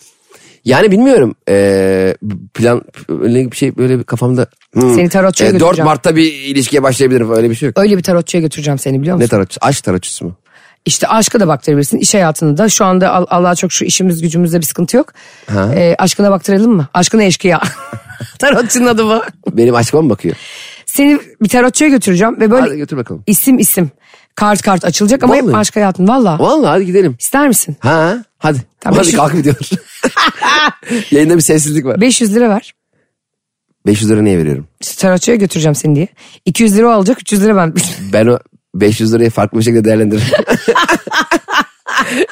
[SPEAKER 3] Yani bilmiyorum. Ee, plan öyle bir şey böyle bir kafamda. Hmm.
[SPEAKER 2] Seni tarotçuya
[SPEAKER 3] Ee, 4
[SPEAKER 2] götüreceğim.
[SPEAKER 3] Mart'ta bir ilişkiye başlayabilirim. Öyle bir şey yok.
[SPEAKER 2] Öyle bir tarotçuya götüreceğim seni biliyor musun?
[SPEAKER 3] Ne tarotçusu? Aşk tarotçusu mu?
[SPEAKER 2] İşte aşka da baktırabilirsin. iş hayatını da. Şu anda Al- Allah'a çok şu işimiz gücümüzde bir sıkıntı yok. Ee, aşkına baktıralım mı? Aşkına eşkıya. Tarotçunun adı bu.
[SPEAKER 3] Benim aşkıma mı bakıyor?
[SPEAKER 2] Seni bir tarotçuya götüreceğim ve böyle
[SPEAKER 3] Hadi götür bakalım.
[SPEAKER 2] isim isim kart kart açılacak ama hep
[SPEAKER 3] Vallahi.
[SPEAKER 2] aşk hayatın. Valla.
[SPEAKER 3] Vallahi hadi gidelim.
[SPEAKER 2] İster misin?
[SPEAKER 3] Ha hadi.
[SPEAKER 2] Tamam,
[SPEAKER 3] hadi
[SPEAKER 2] beş-
[SPEAKER 3] kalk gidiyoruz. Yayında bir sessizlik var.
[SPEAKER 2] 500 lira ver.
[SPEAKER 3] 500 lira niye veriyorum?
[SPEAKER 2] İşte tarotçuya götüreceğim seni diye. 200 lira o alacak 300 lira ben.
[SPEAKER 3] Ben o 500 lirayı farklı bir şekilde değerlendiririm.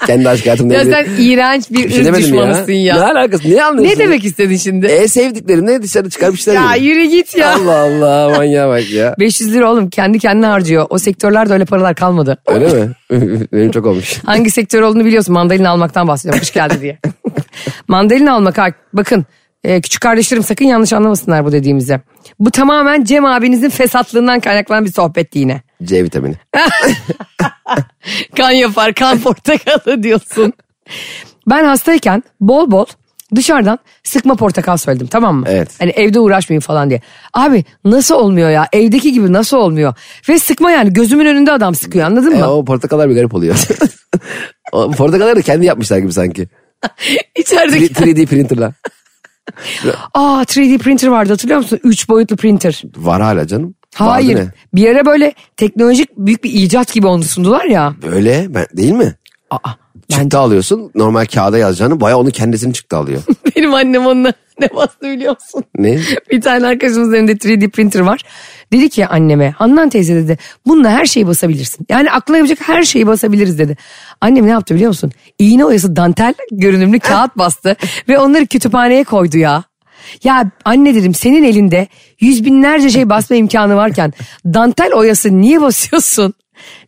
[SPEAKER 3] Kendi aşk hayatımda.
[SPEAKER 2] ya
[SPEAKER 3] evli-
[SPEAKER 2] sen iğrenç bir,
[SPEAKER 3] Bir şey
[SPEAKER 2] ırk
[SPEAKER 3] demedim
[SPEAKER 2] düşmanısın ya.
[SPEAKER 3] Ne alakası? Ne
[SPEAKER 2] Ne
[SPEAKER 3] anlıyorsun?
[SPEAKER 2] demek istedin şimdi?
[SPEAKER 3] E sevdiklerimle dışarı çıkarmışlar.
[SPEAKER 2] ya yürü git ya.
[SPEAKER 3] Allah Allah manyağa bak ya.
[SPEAKER 2] 500 lira oğlum kendi kendine harcıyor. O sektörlerde öyle paralar kalmadı.
[SPEAKER 3] Öyle mi? Benim çok olmuş.
[SPEAKER 2] Hangi sektör olduğunu biliyorsun. Mandalina almaktan bahsediyorum. Kış geldi diye. mandalina almak ha, bakın e, küçük kardeşlerim sakın yanlış anlamasınlar bu dediğimizi. Bu tamamen Cem abinizin fesatlığından kaynaklanan bir sohbetti yine.
[SPEAKER 3] C vitamini.
[SPEAKER 2] Kan yapar kan portakalı diyorsun. Ben hastayken bol bol dışarıdan sıkma portakal söyledim tamam mı?
[SPEAKER 3] Evet.
[SPEAKER 2] Hani evde uğraşmayın falan diye. Abi nasıl olmuyor ya evdeki gibi nasıl olmuyor? Ve sıkma yani gözümün önünde adam sıkıyor anladın
[SPEAKER 3] E,
[SPEAKER 2] mı?
[SPEAKER 3] o portakallar bir garip oluyor. o portakalları da kendi yapmışlar gibi sanki. Tri-
[SPEAKER 2] İçerideki
[SPEAKER 3] 3D printerla.
[SPEAKER 2] Aa 3D printer vardı hatırlıyor musun? Üç boyutlu printer.
[SPEAKER 3] Var hala canım. Vardı
[SPEAKER 2] Hayır.
[SPEAKER 3] ne?
[SPEAKER 2] Bir yere böyle teknolojik büyük bir icat gibi onu sundular ya.
[SPEAKER 3] Böyle ben, değil mi?
[SPEAKER 2] Aa, ben,
[SPEAKER 3] Çıktı alıyorsun normal kağıda yazacağını baya onu kendisini çıktı alıyor.
[SPEAKER 2] benim annem onunla ne bastı biliyor musun?
[SPEAKER 3] ne?
[SPEAKER 2] bir tane arkadaşımızın evinde 3D printer var. Dedi ki anneme Handan teyze dedi bununla her şeyi basabilirsin. Yani aklına yapacak her şeyi basabiliriz dedi. Annem ne yaptı biliyor musun? İğne oyası dantel görünümlü kağıt bastı ve onları kütüphaneye koydu ya. Ya anne dedim senin elinde yüz binlerce şey basma imkanı varken dantel oyası niye basıyorsun?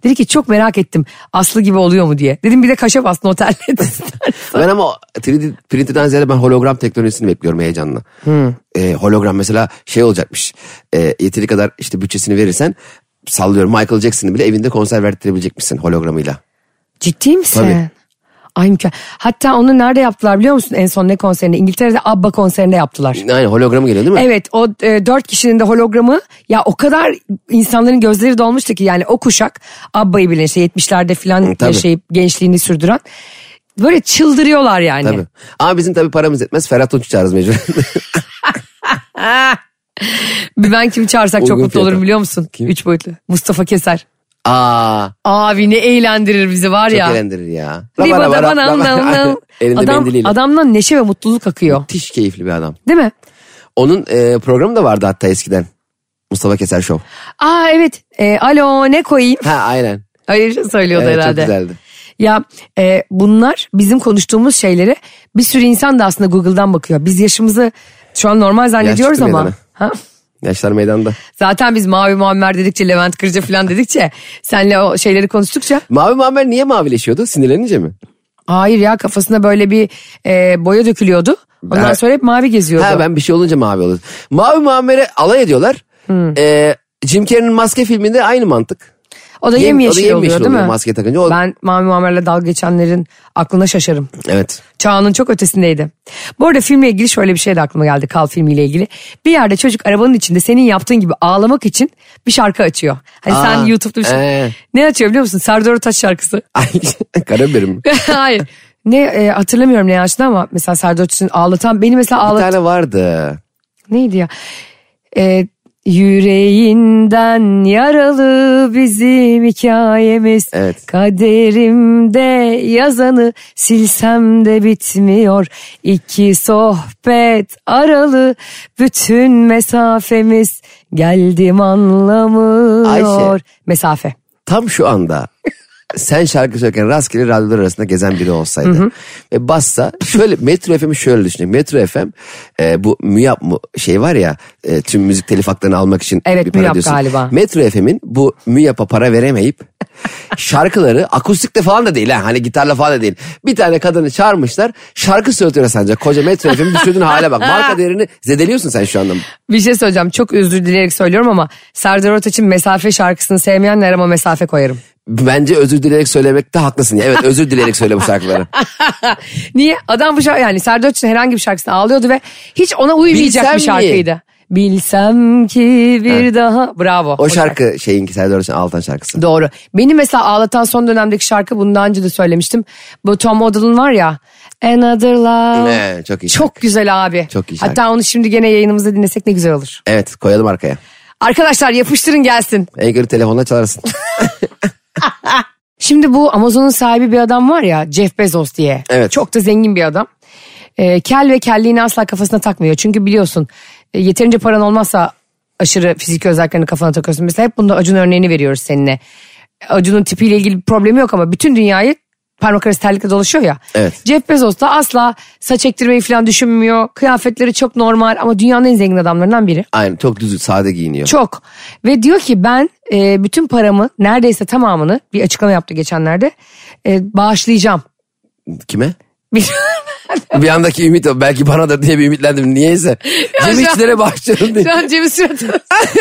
[SPEAKER 2] Dedi ki çok merak ettim Aslı gibi oluyor mu diye. Dedim bir de kaşa bas noterle.
[SPEAKER 3] Ben ama 3D printer'dan ziyade ben hologram teknolojisini bekliyorum heyecanla. Ee, hologram mesela şey olacakmış. E, yeteri kadar işte bütçesini verirsen sallıyorum Michael Jackson'ı bile evinde konser verdirebilecekmişsin hologramıyla.
[SPEAKER 2] Ciddi misin?
[SPEAKER 3] Tabii.
[SPEAKER 2] Ay mükemmel. Hatta onu nerede yaptılar biliyor musun en son ne konserinde? İngiltere'de ABBA konserinde yaptılar.
[SPEAKER 3] Aynen hologramı geliyor değil mi?
[SPEAKER 2] Evet o e, dört kişinin de hologramı ya o kadar insanların gözleri dolmuştu ki yani o kuşak ABBA'yı bilen işte 70'lerde
[SPEAKER 3] Hı,
[SPEAKER 2] filan
[SPEAKER 3] tabii.
[SPEAKER 2] yaşayıp gençliğini sürdüren böyle çıldırıyorlar yani.
[SPEAKER 3] Tabii. Ama bizim tabii paramız yetmez. Ferhat Tunç'u çağırırız mecbur.
[SPEAKER 2] Bir Ben kimi çağırsak çok
[SPEAKER 3] Uygun
[SPEAKER 2] mutlu
[SPEAKER 3] fiyata.
[SPEAKER 2] olurum biliyor musun? Üç boyutlu. Mustafa Keser.
[SPEAKER 3] Aa,
[SPEAKER 2] Abi ne eğlendirir bizi var
[SPEAKER 3] çok
[SPEAKER 2] ya.
[SPEAKER 3] eğlendirir ya.
[SPEAKER 2] Riba da
[SPEAKER 3] Rabara,
[SPEAKER 2] bana
[SPEAKER 3] rabara.
[SPEAKER 2] nam nam.
[SPEAKER 3] Elinde
[SPEAKER 2] Adam,
[SPEAKER 3] mendiliyle.
[SPEAKER 2] adamdan neşe ve mutluluk akıyor.
[SPEAKER 3] Müthiş keyifli bir adam.
[SPEAKER 2] Değil mi?
[SPEAKER 3] Onun e, programı da vardı hatta eskiden. Mustafa Keser Show.
[SPEAKER 2] Aa evet. E, alo ne koyayım?
[SPEAKER 3] Ha aynen.
[SPEAKER 2] Hayır söylüyordu
[SPEAKER 3] Evet, çok
[SPEAKER 2] herhalde.
[SPEAKER 3] güzeldi.
[SPEAKER 2] Ya e, bunlar bizim konuştuğumuz şeylere bir sürü insan da aslında Google'dan bakıyor. Biz yaşımızı şu an normal zannediyoruz
[SPEAKER 3] çıktı
[SPEAKER 2] ama.
[SPEAKER 3] meydana.
[SPEAKER 2] Ha?
[SPEAKER 3] Yaşlar meydanda.
[SPEAKER 2] Zaten biz Mavi Muammer dedikçe Levent Kırca falan dedikçe senle o şeyleri konuştukça
[SPEAKER 3] Mavi Muammer niye mavileşiyordu? Sinirlenince mi?
[SPEAKER 2] hayır ya kafasına böyle bir e, boya dökülüyordu. Ondan
[SPEAKER 3] Ben-
[SPEAKER 2] sonra hep mavi geziyordu.
[SPEAKER 3] Ha ben bir şey olunca mavi olur. Mavi Muammer'e alay ediyorlar. Ee, Jim Carrey'nin maske filminde aynı mantık.
[SPEAKER 2] o da
[SPEAKER 3] Yem-
[SPEAKER 2] yemyeşil
[SPEAKER 3] o da yemyeşil
[SPEAKER 2] oluyor değil mi?
[SPEAKER 3] oluyor maske takınca. O-
[SPEAKER 2] Ben Mavi Muammer'le dalga geçenlerin aklına şaşarım.
[SPEAKER 3] Evet.
[SPEAKER 2] Çağının çok ötesindeydi. Bu arada filmle ilgili şöyle bir şey de aklıma geldi. Kal filmiyle ilgili. Bir yerde çocuk arabanın içinde senin yaptığın gibi ağlamak için bir şarkı açıyor. Hani sen
[SPEAKER 3] Aa,
[SPEAKER 2] YouTube'da bir şey-
[SPEAKER 3] ee.
[SPEAKER 2] Ne açıyor biliyor musun? Serdar Ortaç şarkısı.
[SPEAKER 3] Ay, Karabiberim. Bir
[SPEAKER 2] Hayır. Ne e, hatırlamıyorum ne açtı ama mesela Serdar Ortaç'ın ağlatan beni mesela ağlatan
[SPEAKER 3] tane vardı.
[SPEAKER 2] neydi ya? E, yüreğinden yaralı bizim hikayemiz.
[SPEAKER 3] Evet.
[SPEAKER 2] Kaderimde yazanı silsem de bitmiyor. İki sohbet aralı bütün mesafemiz geldim anlamıyor.
[SPEAKER 3] Ayşe.
[SPEAKER 2] Mesafe.
[SPEAKER 3] Tam şu anda sen şarkı söylerken rastgele radyolar arasında gezen biri olsaydı. Ve bassa şöyle Metro FM'i şöyle düşünün. Metro FM e, bu MÜYAP mu şey var ya e, tüm müzik telif haklarını almak için
[SPEAKER 2] Evet,
[SPEAKER 3] bir para
[SPEAKER 2] MÜYAP
[SPEAKER 3] ödüyorsun.
[SPEAKER 2] galiba.
[SPEAKER 3] Metro FM'in bu MÜYAP'a para veremeyip şarkıları akustikte falan da değil ha hani gitarla falan da değil. Bir tane kadını çağırmışlar şarkı söyletiyor sancak. Koca Metro FM'in düşürdüğün hale bak. Marka değerini zedeliyorsun sen şu anda.
[SPEAKER 2] Bir şey söyleyeceğim çok özür dileyerek söylüyorum ama Serdar Ortaç'ın mesafe şarkısını sevmeyenler ama mesafe koyarım.
[SPEAKER 3] Bence özür dileyerek söylemekte haklısın. ya. Evet özür dileyerek söyle bu şarkıları.
[SPEAKER 2] Niye? Adam bu şarkı yani Serdar Ortaç'ın herhangi bir şarkısını ağlıyordu ve hiç ona uymayacak
[SPEAKER 3] Bilsem
[SPEAKER 2] bir şarkıydı. Bilsem ki bir daha. Bravo.
[SPEAKER 3] O şarkı şeyinki Serdar Ortaç'ın Altan şarkısı.
[SPEAKER 2] Doğru. Beni mesela ağlatan son dönemdeki şarkı bundan önce de söylemiştim. Bu Tom Odell'ın var ya. Another Love.
[SPEAKER 3] Ne, çok iyi
[SPEAKER 2] Çok güzel abi.
[SPEAKER 3] Çok iyi şarkı.
[SPEAKER 2] Hatta onu şimdi gene yayınımızda dinlesek ne güzel olur.
[SPEAKER 3] Evet koyalım arkaya.
[SPEAKER 2] Arkadaşlar yapıştırın gelsin.
[SPEAKER 3] En kötü telefonla çalarsın.
[SPEAKER 2] Şimdi bu Amazon'un sahibi bir adam var ya Jeff Bezos diye.
[SPEAKER 3] Evet.
[SPEAKER 2] Çok da zengin bir adam. Ee, kel ve kelliğini asla kafasına takmıyor. Çünkü biliyorsun e, yeterince paran olmazsa aşırı fiziki özelliklerini kafana takıyorsun. Mesela hep bunda Acun örneğini veriyoruz seninle. Acun'un tipiyle ilgili bir problemi yok ama bütün dünyayı parmak arası terlikle dolaşıyor ya.
[SPEAKER 3] Evet.
[SPEAKER 2] Jeff Bezos da asla saç ektirmeyi falan düşünmüyor. Kıyafetleri çok normal ama dünyanın en zengin adamlarından biri.
[SPEAKER 3] Aynen çok düz sade giyiniyor.
[SPEAKER 2] Çok. Ve diyor ki ben e, bütün paramı neredeyse tamamını bir açıklama yaptı geçenlerde e, bağışlayacağım.
[SPEAKER 3] Kime?
[SPEAKER 2] Bir-
[SPEAKER 3] bir andaki ümit o. Belki bana da diye bir ümitlendim. Niyeyse. Cemişçilere başlıyorum diye.
[SPEAKER 2] Şu an Cemil Surat'ın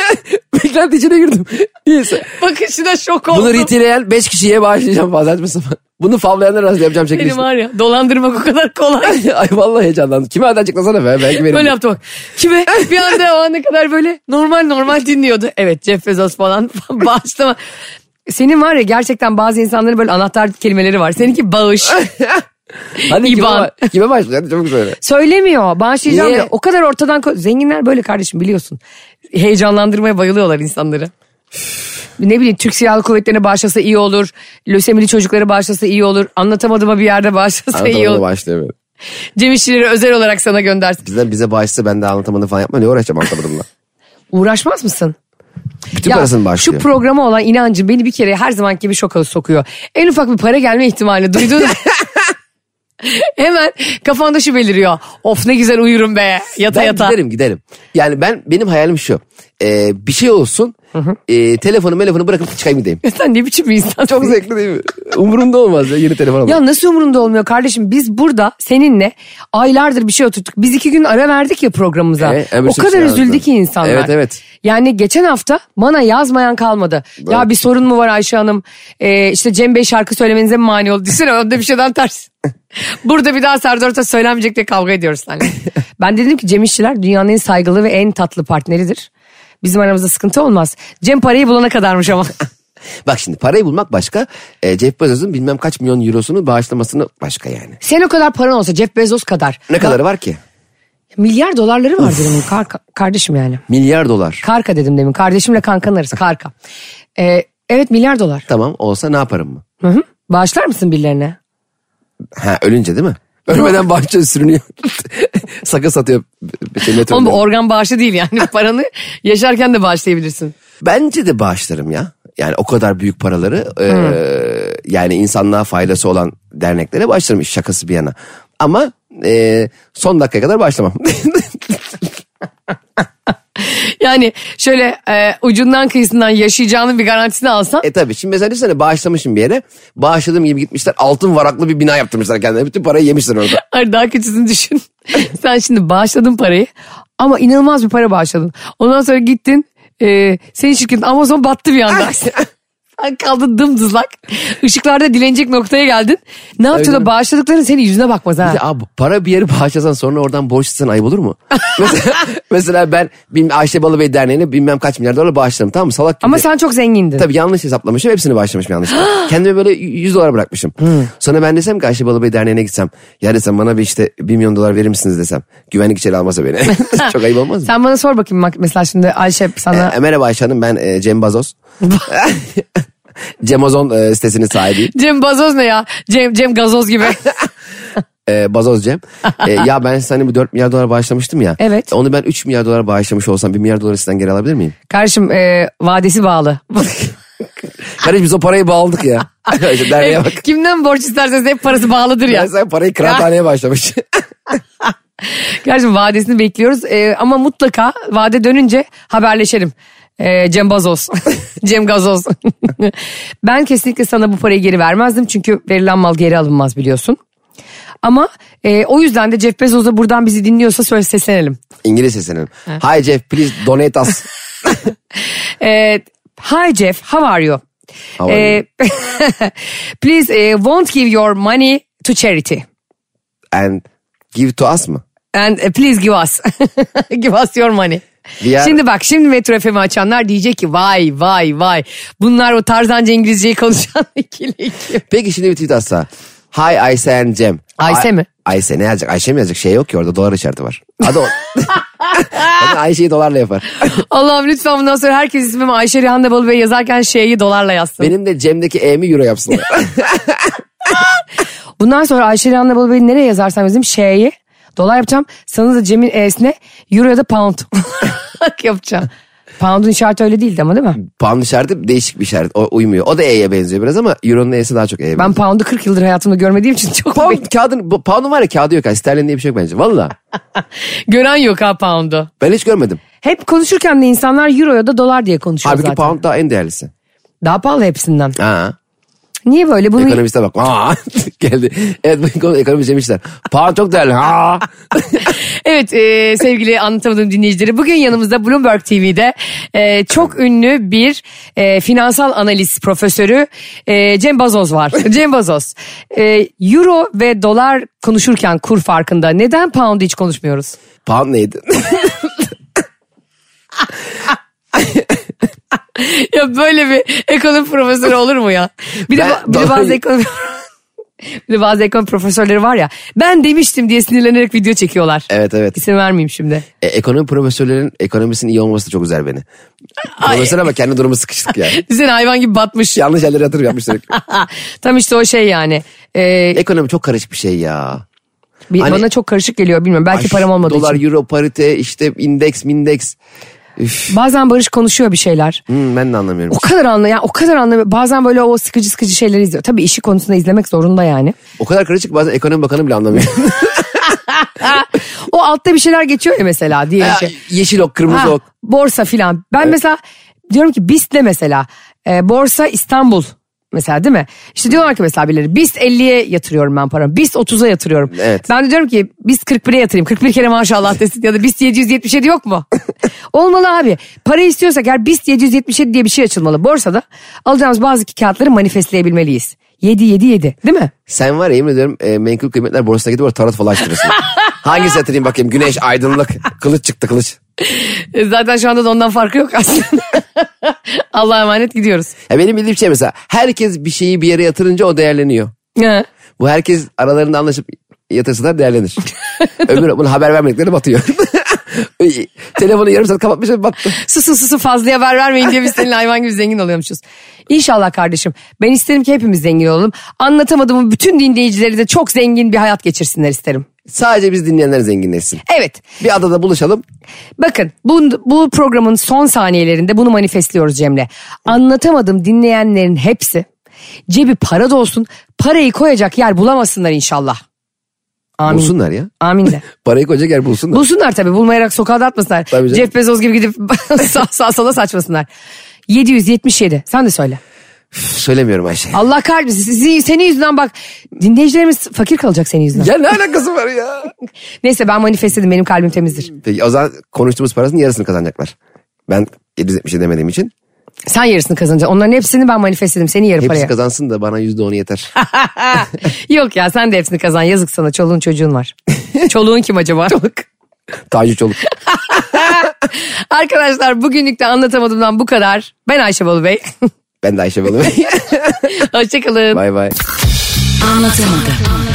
[SPEAKER 3] Beklenti içine girdim. Niyeyse.
[SPEAKER 2] bakışına şok oldum.
[SPEAKER 3] Bunu retaileyen 5 kişiye bağışlayacağım bazen mi sabah? Bunu favlayanlar arasında yapacağım
[SPEAKER 2] Benim
[SPEAKER 3] çekilişte.
[SPEAKER 2] var ya dolandırmak o kadar kolay.
[SPEAKER 3] Ay vallahi heyecanlandım. Kime hadi açıklasana be. Belki benim.
[SPEAKER 2] Böyle yaptı bak. Kime? Bir anda o ana kadar böyle normal normal dinliyordu. Evet Jeff Bezos falan bağışlama. Senin var ya gerçekten bazı insanların böyle anahtar kelimeleri var. Seninki bağış.
[SPEAKER 3] Hani kime,
[SPEAKER 2] İban. Şey
[SPEAKER 3] ba- kime başlayacağım? Hadi çabuk söyle.
[SPEAKER 2] Söylemiyor. Bağışlayacağım
[SPEAKER 3] Niye?
[SPEAKER 2] diyor. O kadar ortadan ko- zenginler böyle kardeşim biliyorsun. Heyecanlandırmaya bayılıyorlar insanları. ne bileyim Türk Silahlı Kuvvetleri'ne bağışlasa iyi olur. Lösemili çocuklara bağışlasa iyi olur. Anlatamadığıma bir yerde bağışlasa iyi
[SPEAKER 3] Anlatamadım
[SPEAKER 2] olur.
[SPEAKER 3] başlayamıyorum.
[SPEAKER 2] Cem İşçileri özel olarak sana göndersin.
[SPEAKER 3] Bizden bize bağışsa ben de anlatamadım falan yapma. Ne uğraşacağım anlatamadımla.
[SPEAKER 2] Uğraşmaz mısın?
[SPEAKER 3] Bütün parasını
[SPEAKER 2] şu
[SPEAKER 3] bağışlıyor.
[SPEAKER 2] programa olan inancım beni bir kere her zamanki gibi şoka sokuyor. En ufak bir para gelme ihtimali duydun mu? Hemen kafanda şu beliriyor. Of ne güzel uyurum be yata
[SPEAKER 3] ben
[SPEAKER 2] yata.
[SPEAKER 3] giderim giderim. Yani ben benim hayalim şu. Ee, bir şey olsun. E, telefonu telefonu bırakıp çıkayım gideyim.
[SPEAKER 2] Sen ne biçim bir insansın?
[SPEAKER 3] Çok zevkli değil mi? Umurumda olmaz ya yeni telefon almak.
[SPEAKER 2] Ya nasıl umurumda olmuyor kardeşim? Biz burada seninle aylardır bir şey oturttuk. Biz iki gün ara verdik ya programımıza.
[SPEAKER 3] Evet, evet,
[SPEAKER 2] o
[SPEAKER 3] şey
[SPEAKER 2] kadar
[SPEAKER 3] yaptık.
[SPEAKER 2] üzüldü ki insanlar.
[SPEAKER 3] Evet, evet.
[SPEAKER 2] Yani geçen hafta bana yazmayan kalmadı. Ya bir sorun mu var Ayşe Hanım? Ee, işte Cem Bey şarkı söylemenize mi mani oldu? Düşünsene onda bir şeyden ters. Burada bir daha Serdar Ortaç söylenmeyecek diye kavga ediyoruz seninle. ben de dedim ki Cem İşçiler dünyanın en saygılı ve en tatlı partneridir. Bizim aramızda sıkıntı olmaz. Cem parayı bulana kadarmış ama.
[SPEAKER 3] Bak şimdi parayı bulmak başka. E, Jeff Bezos'un bilmem kaç milyon eurosunu bağışlamasını başka yani.
[SPEAKER 2] Sen o kadar paran olsa Jeff Bezos kadar.
[SPEAKER 3] Ne kadarı var ki?
[SPEAKER 2] Milyar dolarları vardır onun karka, kardeşim yani.
[SPEAKER 3] Milyar dolar.
[SPEAKER 2] Karka dedim demin. Kardeşimle kankan arası karka. Ee, evet milyar dolar.
[SPEAKER 3] Tamam olsa ne yaparım mı?
[SPEAKER 2] Hı hı. Bağışlar mısın birilerine?
[SPEAKER 3] Ha ölünce değil mi? Ölmeden bahçe sürünüyor. Sakın satıyor. Şey,
[SPEAKER 2] Oğlum bu
[SPEAKER 3] metroda.
[SPEAKER 2] organ bağışı değil yani. Paranı yaşarken de bağışlayabilirsin.
[SPEAKER 3] Bence de bağışlarım ya. Yani o kadar büyük paraları e, yani insanlığa faydası olan derneklere bağışlarım iş şakası bir yana. Ama e, son dakikaya kadar bağışlamam.
[SPEAKER 2] Yani şöyle e, ucundan kıyısından yaşayacağının bir garantisini alsan.
[SPEAKER 3] e tabii şimdi mesela düşünsene bağışlamışım bir yere. Bağışladığım gibi gitmişler altın varaklı bir bina yaptırmışlar kendilerine. Bütün parayı yemişler orada.
[SPEAKER 2] Hayır daha kötüsünü düşün. Sen şimdi bağışladın parayı ama inanılmaz bir para bağışladın. Ondan sonra gittin e, senin şirketin Amazon battı bir anda. Sen kaldın dımdızlak. Işıklarda dilenecek noktaya geldin. Ne yapacaksın
[SPEAKER 3] Öyle mi?
[SPEAKER 2] da bağışladıkların senin yüzüne bakmaz ha.
[SPEAKER 3] Bir de abi para bir yere bağışlasan sonra oradan borçlasan ayıp olur mu? mesela, mesela ben bilmem, Ayşe Balıbey Derneği'ne bilmem kaç milyar dolar bağışladım tamam mı? Salak gibi.
[SPEAKER 2] Ama sen çok zengindin.
[SPEAKER 3] Tabii yanlış hesaplamışım. Hepsini bağışlamışım yanlışlıkla. Kendime böyle 100 dolar bırakmışım. Sonra ben desem ki Ayşe Balıbey Derneği'ne gitsem. Ya desem bana bir işte 1 milyon dolar verir misiniz desem. Güvenlik içeri almasa beni. Çok ayıp olmaz mı?
[SPEAKER 2] Sen bana sor bakayım bak mesela şimdi Ayşe sana
[SPEAKER 3] E, merhaba Ayşe Hanım ben e, Cem Bazos. Cemozon e, sitesinin sahibiyim.
[SPEAKER 2] Cem Gazoz ne ya? Cem Cem Gazoz gibi.
[SPEAKER 3] E, Bazoz Cem. E, ya ben size hani bu 4 milyar dolar bağışlamıştım ya.
[SPEAKER 2] Evet.
[SPEAKER 3] Onu ben 3 milyar dolar bağışlamış olsam 1 milyar doları sizden geri alabilir miyim?
[SPEAKER 2] Kardeşim e, vadesi bağlı.
[SPEAKER 3] Kardeşim biz o parayı bağladık ya. İşte Derneğe bak.
[SPEAKER 2] Kimden borç isterseniz hep parası bağlıdır ya.
[SPEAKER 3] Ya sen parayı kıraathaneye bağışlamış.
[SPEAKER 2] Gerçi vadesini bekliyoruz Ee, ama mutlaka vade dönünce haberleşelim. Ee, Cem Bazoz, Cem Gazoz. ben kesinlikle sana bu parayı geri vermezdim çünkü verilen mal geri alınmaz biliyorsun. Ama e, o yüzden de Jeff Bezos da buradan bizi dinliyorsa söyle seslenelim.
[SPEAKER 3] İngiliz sesinin. Hi Jeff please donate us.
[SPEAKER 2] Ee, hi Jeff, how are you?
[SPEAKER 3] How are you?
[SPEAKER 2] Ee, please eh, won't give your money to charity.
[SPEAKER 3] and give to us mı?
[SPEAKER 2] And eh, please give us. give us your money.
[SPEAKER 3] We are-
[SPEAKER 2] Şimdi bak şimdi Metro FM'i açanlar diyecek ki vay vay vay. Bunlar o tarzanca İngilizceyi konuşan ikili ekip.
[SPEAKER 3] Peki şimdi bir tweet atsa. Hi Ayşe and Cem.
[SPEAKER 2] Ayşe
[SPEAKER 3] Ay-
[SPEAKER 2] mi?
[SPEAKER 3] Ayşe ne yazacak? Ayşe mi yazacak? Şey yok ki orada dolar işareti var. Hadi o. Zaten Ayşe'yi dolarla yapar.
[SPEAKER 2] Allah'ım lütfen bundan sonra herkes ismimi Ayşe Rihanna Balı Bey yazarken şeyi dolarla yazsın.
[SPEAKER 3] Benim de Cem'deki E'mi euro yapsın.
[SPEAKER 2] Bundan sonra Ayşe Rihanna Balı Bey'i nereye yazarsam yazayım şeyi dolar yapacağım. Sanız da Cem'in E'sine euro ya da pound yapacağım. Pound'un işareti öyle değildi ama değil mi?
[SPEAKER 3] Pound işareti değişik bir işaret. O uymuyor. O da E'ye benziyor biraz ama Euro'nun E'si daha çok E'ye benziyor.
[SPEAKER 2] Ben pound'u 40 yıldır hayatımda görmediğim için çok
[SPEAKER 3] Pound,
[SPEAKER 2] be-
[SPEAKER 3] kağıdın, bu- pound'un var ya kağıdı yok. ha. Sterlin diye bir şey yok bence. Valla.
[SPEAKER 2] gören yok ha pound'u.
[SPEAKER 3] Ben hiç görmedim.
[SPEAKER 2] Hep konuşurken de insanlar euro ya da dolar diye konuşuyor
[SPEAKER 3] Halbuki
[SPEAKER 2] zaten.
[SPEAKER 3] pound daha en değerlisi.
[SPEAKER 2] Daha pahalı hepsinden.
[SPEAKER 3] Ha.
[SPEAKER 2] Niye böyle bunu
[SPEAKER 3] Ekonomiste bak. Ha. Geldi. Evet bu konu ekonomist demişler. Pound çok değerli. Ha.
[SPEAKER 2] Evet e, sevgili anlatamadığım dinleyicileri bugün yanımızda Bloomberg TV'de e, çok ünlü bir e, finansal analiz profesörü e, Cem Bazoz var. Cem Bazoz. E, Euro ve dolar konuşurken kur farkında neden pound hiç konuşmuyoruz?
[SPEAKER 3] Pound neydi?
[SPEAKER 2] ya böyle bir ekonomi profesörü olur mu ya? Bir de,
[SPEAKER 3] Ben
[SPEAKER 2] ba- bir de
[SPEAKER 3] dolar-
[SPEAKER 2] bazı ekonomi... Bir de bazı ekonomi profesörleri var ya. Ben demiştim diye sinirlenerek video çekiyorlar.
[SPEAKER 3] Evet evet.
[SPEAKER 2] İsim vermeyeyim şimdi.
[SPEAKER 3] E, ekonomi profesörlerin ekonomisinin iyi olması da çok üzer beni. Profesör ama kendi durumu sıkıştık yani.
[SPEAKER 2] Düzen hayvan gibi batmış.
[SPEAKER 3] Yanlış yerlere yatırım yapmış sürekli.
[SPEAKER 2] Tam işte o şey yani. Ee,
[SPEAKER 3] Ekonomi çok karışık bir şey ya.
[SPEAKER 2] bir-
[SPEAKER 3] hani-
[SPEAKER 2] bana çok karışık geliyor bilmiyorum. Belki
[SPEAKER 3] Aş-
[SPEAKER 2] param olmadığı
[SPEAKER 3] Dolar,
[SPEAKER 2] için.
[SPEAKER 3] euro, parite, işte indeks, mindeks.
[SPEAKER 2] Bazen Barış konuşuyor bir şeyler.
[SPEAKER 3] Hmm, ben de anlamıyorum.
[SPEAKER 2] O kadar anla ya o kadar anla bazen böyle o sıkıcı sıkıcı şeyleri izliyor. Tabii işi konusunda izlemek zorunda yani.
[SPEAKER 3] O kadar karışık bazen ekonomi bakanı bile anlamıyor.
[SPEAKER 2] O altta bir şeyler geçiyor ya mesela diye
[SPEAKER 3] Ha,
[SPEAKER 2] ki.
[SPEAKER 3] Yeşil ok, kırmızı
[SPEAKER 2] Ha,
[SPEAKER 3] ok.
[SPEAKER 2] borsa filan. Ben mesela diyorum ki BIST'le mesela e, borsa İstanbul mesela değil mi? İşte diyorlar ki mesela birileri BIST 50'ye yatırıyorum ben paramı. BIST 30'a yatırıyorum.
[SPEAKER 3] Evet.
[SPEAKER 2] Ben de diyorum ki BIST 41'e yatırayım. 41 kere maşallah desin ya da BIST 777 yok mu? Olmalı abi. Para istiyorsak eğer BIST 777 diye bir şey açılmalı. Borsada alacağımız bazı kağıtları manifestleyebilmeliyiz. 7 7 7 değil mi?
[SPEAKER 3] Sen var ya yemin ediyorum e, menkul kıymetler borsasına gidip orada tarot falan açtırırsın. Hangisi yatırayım bakayım? Güneş, aydınlık, kılıç çıktı kılıç.
[SPEAKER 2] E, Zaten şu anda da ondan farkı yok aslında. Allah'a emanet gidiyoruz.
[SPEAKER 3] Ya benim bildiğim şey mesela herkes bir şeyi bir yere yatırınca o değerleniyor.
[SPEAKER 2] Ha.
[SPEAKER 3] Bu herkes aralarında anlaşıp yatırsalar değerlenir. Öbür bunu haber vermedikleri batıyor. Telefonu yarım saat kapatmış ve battı.
[SPEAKER 2] susun susun fazla haber vermeyin diye biz seninle hayvan gibi zengin oluyormuşuz. İnşallah kardeşim. Ben isterim ki hepimiz zengin olalım. Anlatamadığımın bütün dinleyicileri de çok zengin bir hayat geçirsinler isterim.
[SPEAKER 3] Sadece biz dinleyenler zenginleşsin.
[SPEAKER 2] Evet.
[SPEAKER 3] Bir adada buluşalım.
[SPEAKER 2] Bakın bu, bu programın son saniyelerinde bunu manifestliyoruz Cemre. Anlatamadım dinleyenlerin hepsi cebi para dolsun parayı koyacak yer bulamasınlar inşallah. Amin.
[SPEAKER 3] Bulsunlar ya.
[SPEAKER 2] Amin de.
[SPEAKER 3] Parayı koyacak yer bulsunlar.
[SPEAKER 2] Bulsunlar tabii bulmayarak sokağa da atmasınlar.
[SPEAKER 3] Tabii canım.
[SPEAKER 2] Jeff Bezos gibi gidip sağ, sağ sola saçmasınlar. 777 sen de söyle.
[SPEAKER 3] Söylemiyorum Ayşe.
[SPEAKER 2] Allah kahretsin sizi, senin yüzünden bak dinleyicilerimiz fakir kalacak senin yüzünden.
[SPEAKER 3] Ya ne alakası var ya?
[SPEAKER 2] Neyse ben manifestledim benim kalbim temizdir.
[SPEAKER 3] Peki o zaman konuştuğumuz parasının yarısını kazanacaklar. Ben 770 demediğim için.
[SPEAKER 2] Sen yarısını kazanacaksın onların hepsini ben manifestledim senin yarı
[SPEAKER 3] Hepsi
[SPEAKER 2] paraya.
[SPEAKER 3] kazansın da bana %10'u yeter.
[SPEAKER 2] Yok ya sen de hepsini kazan yazık sana çoluğun çocuğun var. Çoluğun kim acaba?
[SPEAKER 3] Taci Çoluk.
[SPEAKER 2] Arkadaşlar bugünlük de anlatamadığımdan bu kadar. Ben Ayşe Balı Bey.
[SPEAKER 3] Ben de Ayşe Balı.
[SPEAKER 2] Hoşçakalın.
[SPEAKER 3] bay bay.
[SPEAKER 5] Anlatamadım.